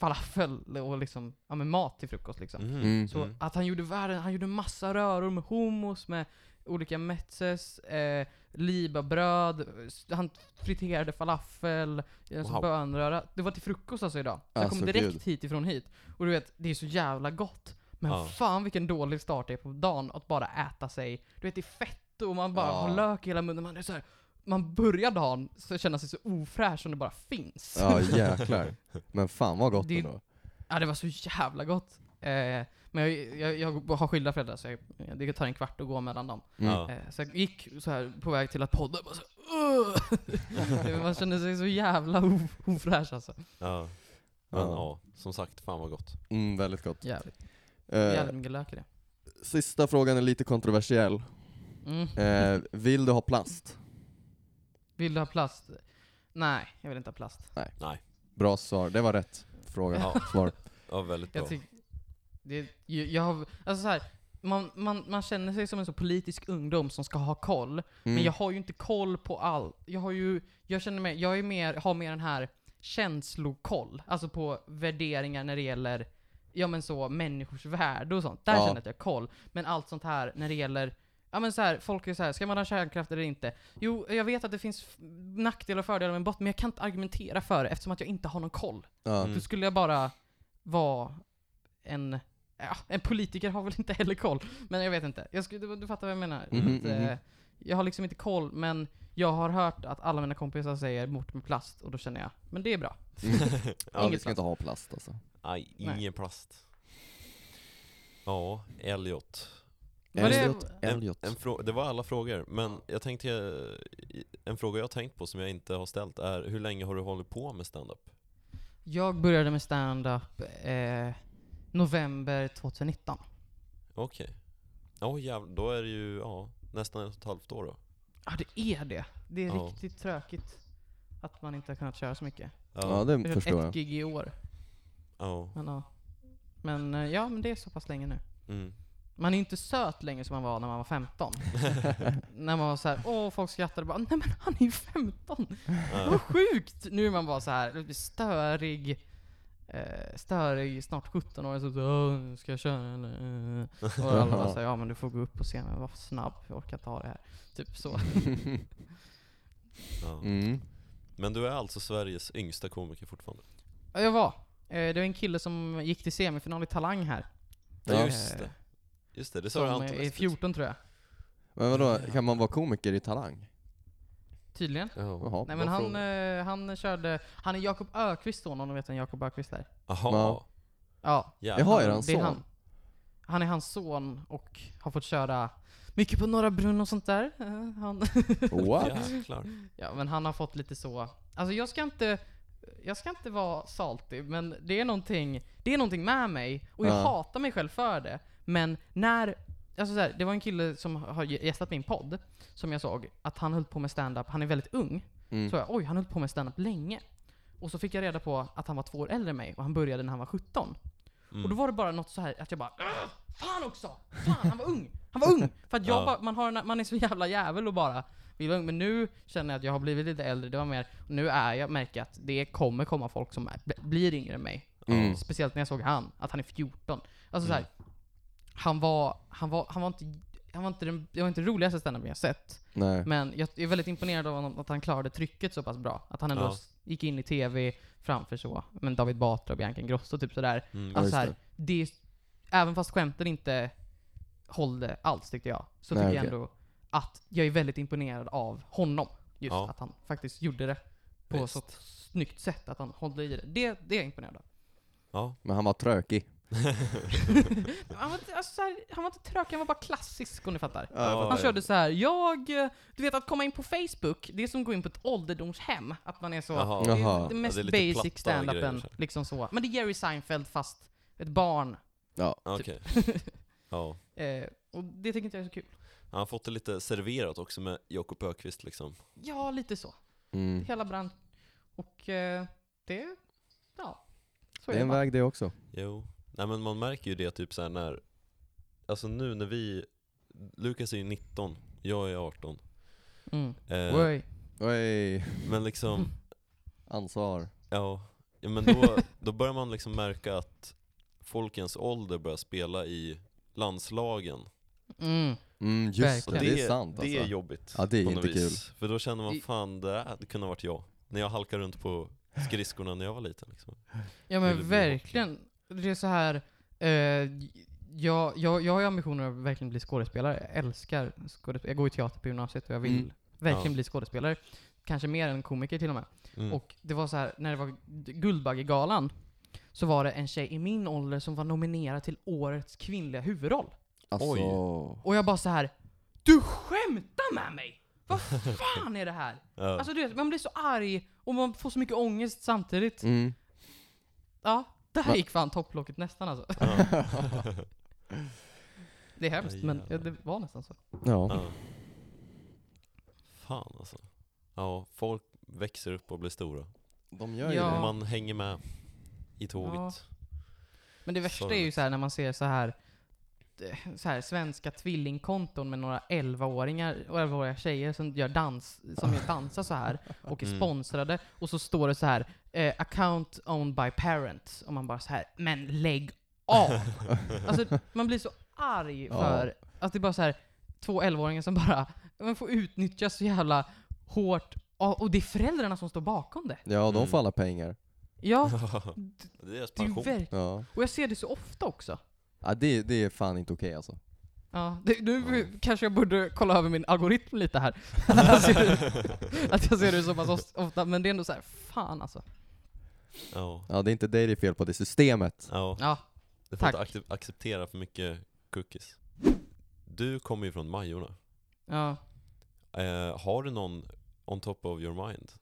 falafel och liksom, ja men mat till frukost liksom. Mm. Mm. Så att han gjorde världen, han gjorde massa röror med hummus, med olika metzes, eh, libabröd, s- han friterade falafel, wow. Wow. bönröra. Det var till frukost alltså idag. Så jag Alltså, kom direkt gud. hit ifrån hit. Och du vet, det är så jävla gott. Men Ja. fan vilken dålig start det är på dagen att bara äta sig, du vet det är fett och man bara Ja. har lök i hela munnen. Man, är så här, man börjar dagen så känner sig så ofräsch som det bara finns. Ja jäklar. Men fan vad gott Det- ändå. Ja, det var så jävla gott. Eh, men jag, jag, jag har skilda föräldrar så jag, det tar en kvart att gå mellan dem. Mm. Ja. Eh, så jag gick så här på väg till att podda bara så här, "Ugh!" Man kände sig så jävla o- ofräsch alltså. Ja. Men ja. Ja. som sagt, fan vad gott. Mm, väldigt gott. Jävligt, Eh, jävligt mycket lök i det. sista frågan är lite kontroversiell. Mm. Eh, vill du ha plast? Vill du ha plast? Nej, jag vill inte ha plast. Bra svar, det var rätt fråga. Ja. Svar. Ja, väldigt bra. Jag tycker... Det, jag, jag har, alltså så här, man, man, man känner sig som en så politisk ungdom som ska ha koll, Mm. Men jag har ju inte koll på allt. Jag har ju, jag känner mig, jag är mer, har mer den här känslokoll. Alltså på värderingar när det gäller, ja men så, människors värde och sånt. Där Ja. känner jag att jag har koll. Men allt sånt här när det gäller, ja men så här, folk är så här, ska man ha kärnkraft eller inte? Jo, jag vet att det finns f- nackdelar och fördelar med bort, men jag kan inte argumentera för det eftersom att jag inte har någon koll. ja. Mm. Då skulle jag bara vara en, ja, en politiker har väl inte heller koll. Men jag vet inte. Jag skulle, du, du fattar vad jag menar. Mhm, att, eh, mhm. Jag har liksom inte koll, men jag har hört att alla mina kompisar säger bort med plast, och då känner jag, men det är bra. ja, vi inget ska inte ha plast alltså. Aj, Nej. ingen plast. Ja, Elliot. Var det- Elliot, Elliot. En frå- det var alla frågor, men jag tänkte, eh, en fråga jag har tänkt på som jag inte har ställt är hur länge har du hållit på med standup? Jag började med stand-up eh, november 2019. Okej. Ja jävlar, då är det ju ja, nästan ett och ett halvt år då. Ja, det är det. Det är Ja. riktigt tråkigt att man inte har kunnat köra så mycket. Ja det Jag har förstår kört ett jag. gig i år, ja. men ja. Men eh, ja, men det är så pass länge nu. Mm. Man är ju inte söt längre som man var när man var 15. när man var så här, åh folk skrattade bara, nej men han är ju 15! Vad Ja. sjukt! Nu är man bara så här lite störig, eh, störig snart 17 år, så så, åh, ska jag köra eller? eh?" Och alla bara säger, ja men du får gå upp på scenen, var snabb, jag orkar inte ha det här. Typ så. Ja. Mm. Men du är alltså Sveriges yngsta komiker fortfarande? Ja, Jag var, eh, det var en kille som gick till semifinal i Talang här. Eh, Ja. Just det. Just det, det sa du Som Anton är Westlitz. 14 tror jag. Men vadå, kan man vara komiker i Talang? Tydligen. Ja. Jaha. Nej men Bra han, fråga. eh, han körde, han är Jakob Ökvist son om du vet vem Jakob Ökvist är. Jaha. Ja. Ja, Ja. Jaha, är det Ja, hans det är son? han. Han är hans son och har fått köra mycket på Norra Brunn och sånt där. Eh, Han, What? Jäklar. ja, men han har fått lite så... Alltså jag ska inte... Jag ska inte vara saltig, men det är någonting, det är någonting med mig och jag Ja. hatar mig själv för det. Men när... Alltså så här, det var en kille som har gästat min podd, som jag såg, att han höll på med stand-up. Han är väldigt ung. Mm. Så jag, oj, han höll på med stand-up länge. Och så fick jag reda på att han var två år äldre än mig och han började när han var 17. Mm. Och då var det bara något så här att jag bara "Ugh, Fan också! Fan, han var ung! Han var ung! För att jag Ja. bara, man, har, en- man är så jävla jävel och bara vill vara ung. Men nu känner jag att jag har blivit lite äldre, det var mer, nu är jag, märker jag att det kommer komma folk som är, blir yngre än mig. Mm. Speciellt när jag såg han, att han är 14. Alltså så här, han var, han var, han var inte, han var inte den, det var inte den roligaste standupen jag sett. Nej. Men jag är väldigt imponerad av honom, att han klarade trycket så pass bra. Att han ändå Ja. s- gick in i TV framför så, men David Batra och Bianca Ingrosso typ sådär. Mm. Ja, Alltså just såhär, det. är- även fast skämten inte hållde alls tyckte jag, så Nej, tycker jag okej. ändå att jag är väldigt imponerad av honom. Just Ja. att han faktiskt gjorde det på Visst. så snyggt sätt, att han håller i det. Det, det är jag imponerad av. Ja. Men han var trökig. Han var, inte- alltså, så här, han var inte trökig, han var bara klassisk om ni fattar. Ja, ja. Han körde så här, jag... eh, Du vet att komma in på Facebook, det är som att gå in på ett ålderdomshem. Att man är så... Jaha. Det Jaha. är det mest Ja, det är lite basic platta grejer, standupen. så här. Liksom så. Men det är Jerry Seinfeld fast ett barn Ja. Okej. Ja. Eh, och Och det tycker inte jag är så kul. Han har fått det lite serverat också med Jakob Ökvist liksom. Ja, lite så. Mm. Hela brand. Och eh, det, ja. Så Det är en bara. väg det också. Jo. Nej men man märker ju det typ så här när, alltså nu när vi, Lukas är ju 19, jag är 18. Mm. Eh, Oj. Oj, men liksom, ansvar. ja. ja men då, då börjar man liksom märka att folkens ålder börjar spela i landslagen. Mm. Mm, just det, Verkligen. det är sant det är alltså. jobbigt Ja, det är på inte något vis. För då känner man I- fan, det här kunde ha varit jag. När jag halkade runt på skridskorna när jag var liten liksom. Ja Eller men bli hockey. verkligen. Det är så här. Eh, jag, jag, jag har ju ambitioner att verkligen bli skådespelare. Jag älskar skådespelare. Jag går i teater på gymnasiet och jag vill Mm. verkligen Ja. bli skådespelare. Kanske mer än komiker till och med. Mm. Och det var så här när det var Guldbaggegalan så var det en tjej i min ålder som var nominerad till årets kvinnliga huvudroll. Alltså, Oj. Och jag bara så här. Du skämtar med mig! Vad fan är det här? Ja. Alltså du vet, man blir så arg och man får så mycket ångest samtidigt. Mm. Ja, där Va? gick fan topplocket nästan alltså. Det är hemskt, Aj, men jävlar. ja, det var nästan så. Ja. Ja. Fan alltså. Ja, folk växer upp och blir stora. De gör ju Ja. det. Man hänger med i tåget. Men det värsta är ju Sorgligt. så här när man ser så här, eh, så här svenska tvillingkonton med några 11-åringar och 11-åriga tjejer som, gör dans, som gör dansar så här och är Mm. sponsrade. Och så står det så här eh, 'account owned by parents' och man bara så här 'men lägg av!' Alltså man blir så arg Ja. för att det är bara så här två 11-åringar som bara man får utnyttjas så jävla hårt. Och och det är föräldrarna som står bakom det. Ja, de Mm. får alla pengar. Ja, det är deras det är ju pension. verkligen Ja. Och jag ser det så ofta också. Ja, det, det är fan inte okej alltså. Ja, det, nu kanske jag borde kolla över min algoritm lite här. Att jag ser det, att jag ser det så pass os- ofta, men det är ändå så här, fan alltså. Ja. Ja, det är inte dig det är fel på, det är systemet. Ja. Ja, Du får inte tack. accep- acceptera för mycket cookies. Du kommer ju från Majorna. ja. Eh, har du någon on top of your mind?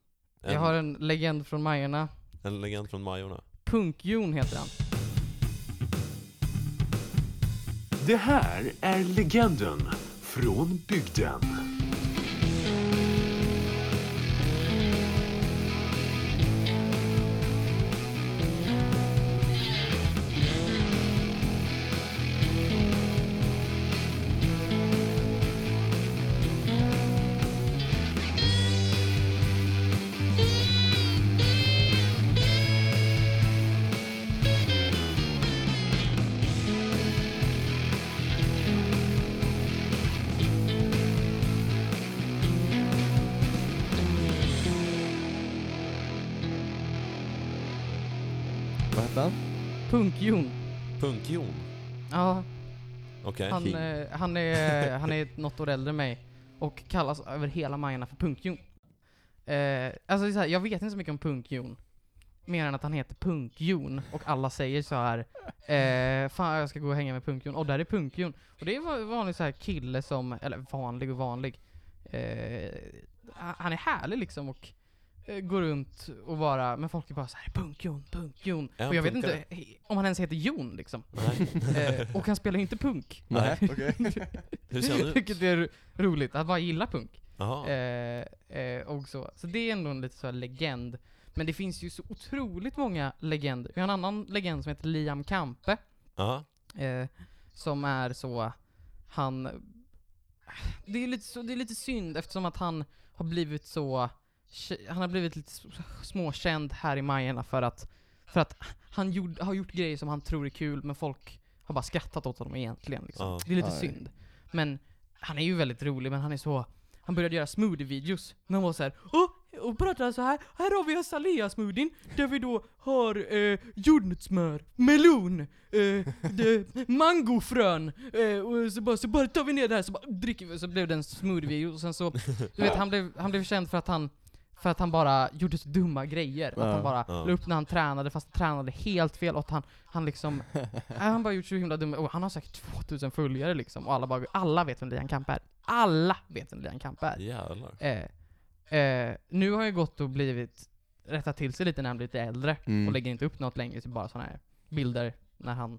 En, Jag har en legend från Majorna. en legend från Majorna. Punk-Jon heter han. Det här är legenden från bygden. Vad hette han? Punk-Jon. Punk-Jon. Ja, Okej. han, King. eh, han, är, han är något år äldre än mig och kallas över hela Majorna för Punk-Jon. Eh, alltså det är så här, jag vet inte så mycket om Punk-Jon. Mer än att han heter Punk-Jon och alla säger så här eh, Fan jag ska gå och hänga med Punk-Jon, och där är Punk-Jon. Och det är en vanlig så här kille som, eller vanlig och vanlig. Eh, han han är härlig liksom och eh, går runt och bara, men folk är bara så här Punk-Jon, Punk-Jon. Är han Och jag vet punkare? inte he- om han ens heter Jon liksom. Nej. Eh, och han spelar ju inte punk. Nej. okej. Hur ser han Vilket ut? är ro- roligt, att bara gilla punk. Jaha. Eh, eh, och så. så det är ändå en lite så här legend. Men det finns ju så otroligt många legender. Vi har en annan legend som heter Liam Kampe, Jaha. eh, som är så, han... Det är, lite så, det är lite synd eftersom att han har blivit så, han har blivit lite s- småkänd här i Majerna för att, för att han gjorde, har gjort grejer som han tror är kul men folk har bara skrattat åt honom egentligen. Liksom. Ja. Det är lite Aj. synd. Men han är ju väldigt rolig, men han är så... Han började göra smoothie-videos. När han var så här, Åh, och pratade så här. Här har vi azalea-smoothien, där vi då har eh, jordnötssmör, melon, eh, de, mangofrön. Eh, och så bara, så bara tar vi ner det här, så bara dricker vi. Och så blev det en smoothie-video. Och sen så, du vet, han blev, han blev känd för att han för att han bara gjorde så dumma grejer. Att han Ja. bara Ja. la upp när han tränade fast han tränade helt fel och att han, han liksom Nej, Han har bara gjort så himla dumma, och han har säkert 2000 följare liksom, och alla bara, alla vet vem Lian Kamp är. Alla vet vem Lian Kamp är. Jävlar. Eh, eh, nu har jag gått och blivit, rättat till sig lite när han blivit lite äldre, Mm. typ och lägger inte upp något längre, så bara sådana här bilder när han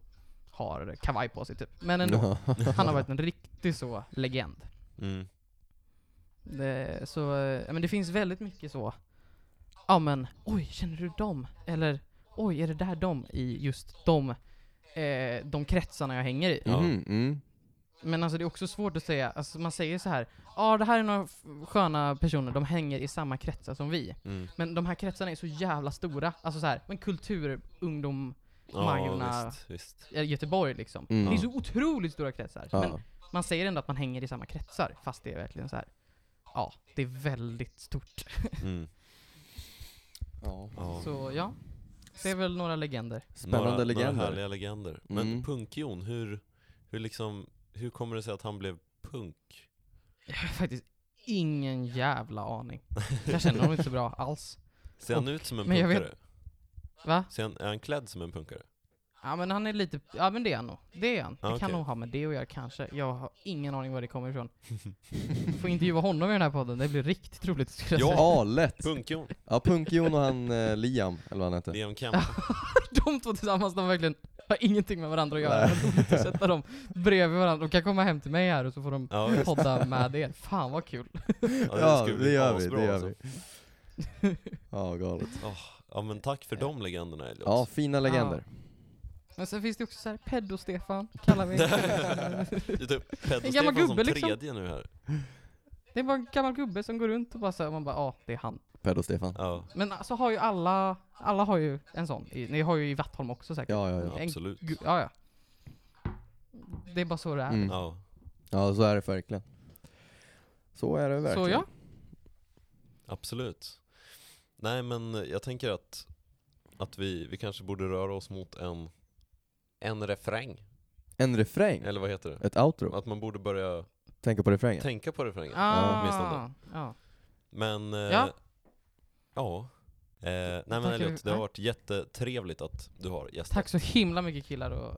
har kavaj på sig typ. Men ändå, han har varit en riktig så legend. Mm. Det, så, eh, men det finns väldigt mycket så, ja men, oj känner du dem? Eller, oj är det där dem? I just de, eh, de kretsarna jag hänger i. Ja. Mhm, mm. Men alltså det är också svårt att säga, alltså man säger så här, ja det här är några f- sköna personer, de hänger i samma kretsar som vi. Mm. Men de här kretsarna är så jävla stora, alltså så här, men kultur, ungdom, Ja, Majorna. visst, visst. eh, Göteborg liksom. Mm. Det är så otroligt stora kretsar. Men Ja. man säger ändå att man hänger i samma kretsar, fast det är verkligen så här. Ja, det är väldigt stort. Mm. Ja. Ja. Så ja, det är väl några legender. Spännande några, Några legender. härliga legender. Men Mm. Punk-Jon, hur, hur, liksom, hur kommer det sig att han blev punk? Jag har faktiskt ingen jävla aning. Jag känner honom inte så bra alls. Ser han ut som en men jag vet- punkare? Va? Ser han, är han klädd som en punkare? Ja men han är lite, ja men det är han nog. Det är han. Ja, Det kan okej. nog ha med det att göra kanske. Jag har ingen aning var det kommer ifrån. Får intervjua honom i den här podden, det blir riktigt roligt skulle jag Ja. säga. Ja, lätt! Punk-Jon, Ja, Punk-Jon och han eh, Liam, eller vad han heter. Liam Kemp. De två tillsammans, de verkligen har ingenting med varandra att göra. Det är roligt att sätta dem bredvid varandra. De kan komma hem till mig här och så får de Ja, visst. podda med er. Fan vad kul. Ja, det, gör vi, det gör vi. Ja, galet. alltså. Ja men tack för de legenderna Elliot. Ja, fina legender. Men sen finns det också så här, Peddo-Stefan kallar vi Det är typ Pedro En gammal Stefan som gubbe, liksom. tredje nu här. Det är bara en gammal gubbe som går runt och bara såhär, man bara ja, det är han. Pedo-Stefan. Ja, Men så alltså, har ju alla, alla har ju en sån. I- Ni har ju i Vattholm också säkert. Ja, ja, ja. En absolut. Gu- Ja, ja. Det är bara så det är. Mm. Ja. Ja, så är det verkligen. Så är det verkligen. så ja. Absolut. Nej men jag tänker att, att vi, vi kanske borde röra oss mot en, en refräng. En refräng, Eller vad heter det? ett outro. Att man borde börja Tänker på refrängen. tänka på refrängen. Ah, åtminstone. ja. Men eh, Ja. ja. Eh, nej men Tackar Elliot, vi- det har ja. varit jättetrevligt att du har gästat. Tack så himla mycket killar och,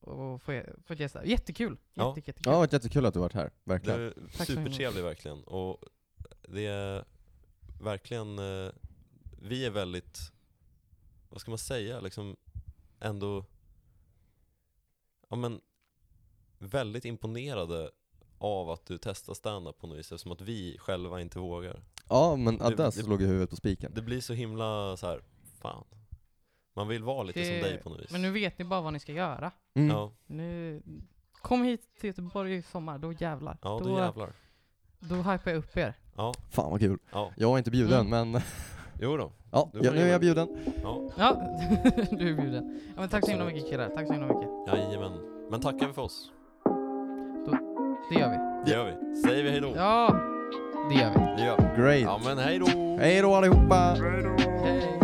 och få, få gästa. Jättekul. Ja. Ja, Jätte, det jättekul. har varit jättekul att du varit här, Du verkligen. är Tack så himla supertrevlig verkligen. Och det är verkligen, eh, vi är väldigt, vad ska man säga, liksom ändå, ja men väldigt imponerade av att du testar stand-up på något vis eftersom att vi själva inte vågar. Ja, men Det- Adda det- slog i huvudet på spiken. Det blir så himla så här, fan. Man vill vara lite Det- som dig på något vis. Men nu vet ni bara vad ni ska göra. Mm. Ja, Nu, kom hit till Göteborg i sommar, då jävlar. ja då då, jävlar. då hypar jag upp er. Ja, Fan vad kul. ja, Jag är inte bjuden, Mm. men jo då. ja, Du får ja, nu är jag gärna- bjuden. Ja, Ja, du är bjuden. Ja, men tack så himla mycket killar, tack så himla mycket. jajamän. Men tackar vi för oss. Det gör vi. Det gör vi. Säger vi hejdå? Ja, det gör vi. Det gör vi. Great. Ja men hej då! Hej då allihopa! Hej.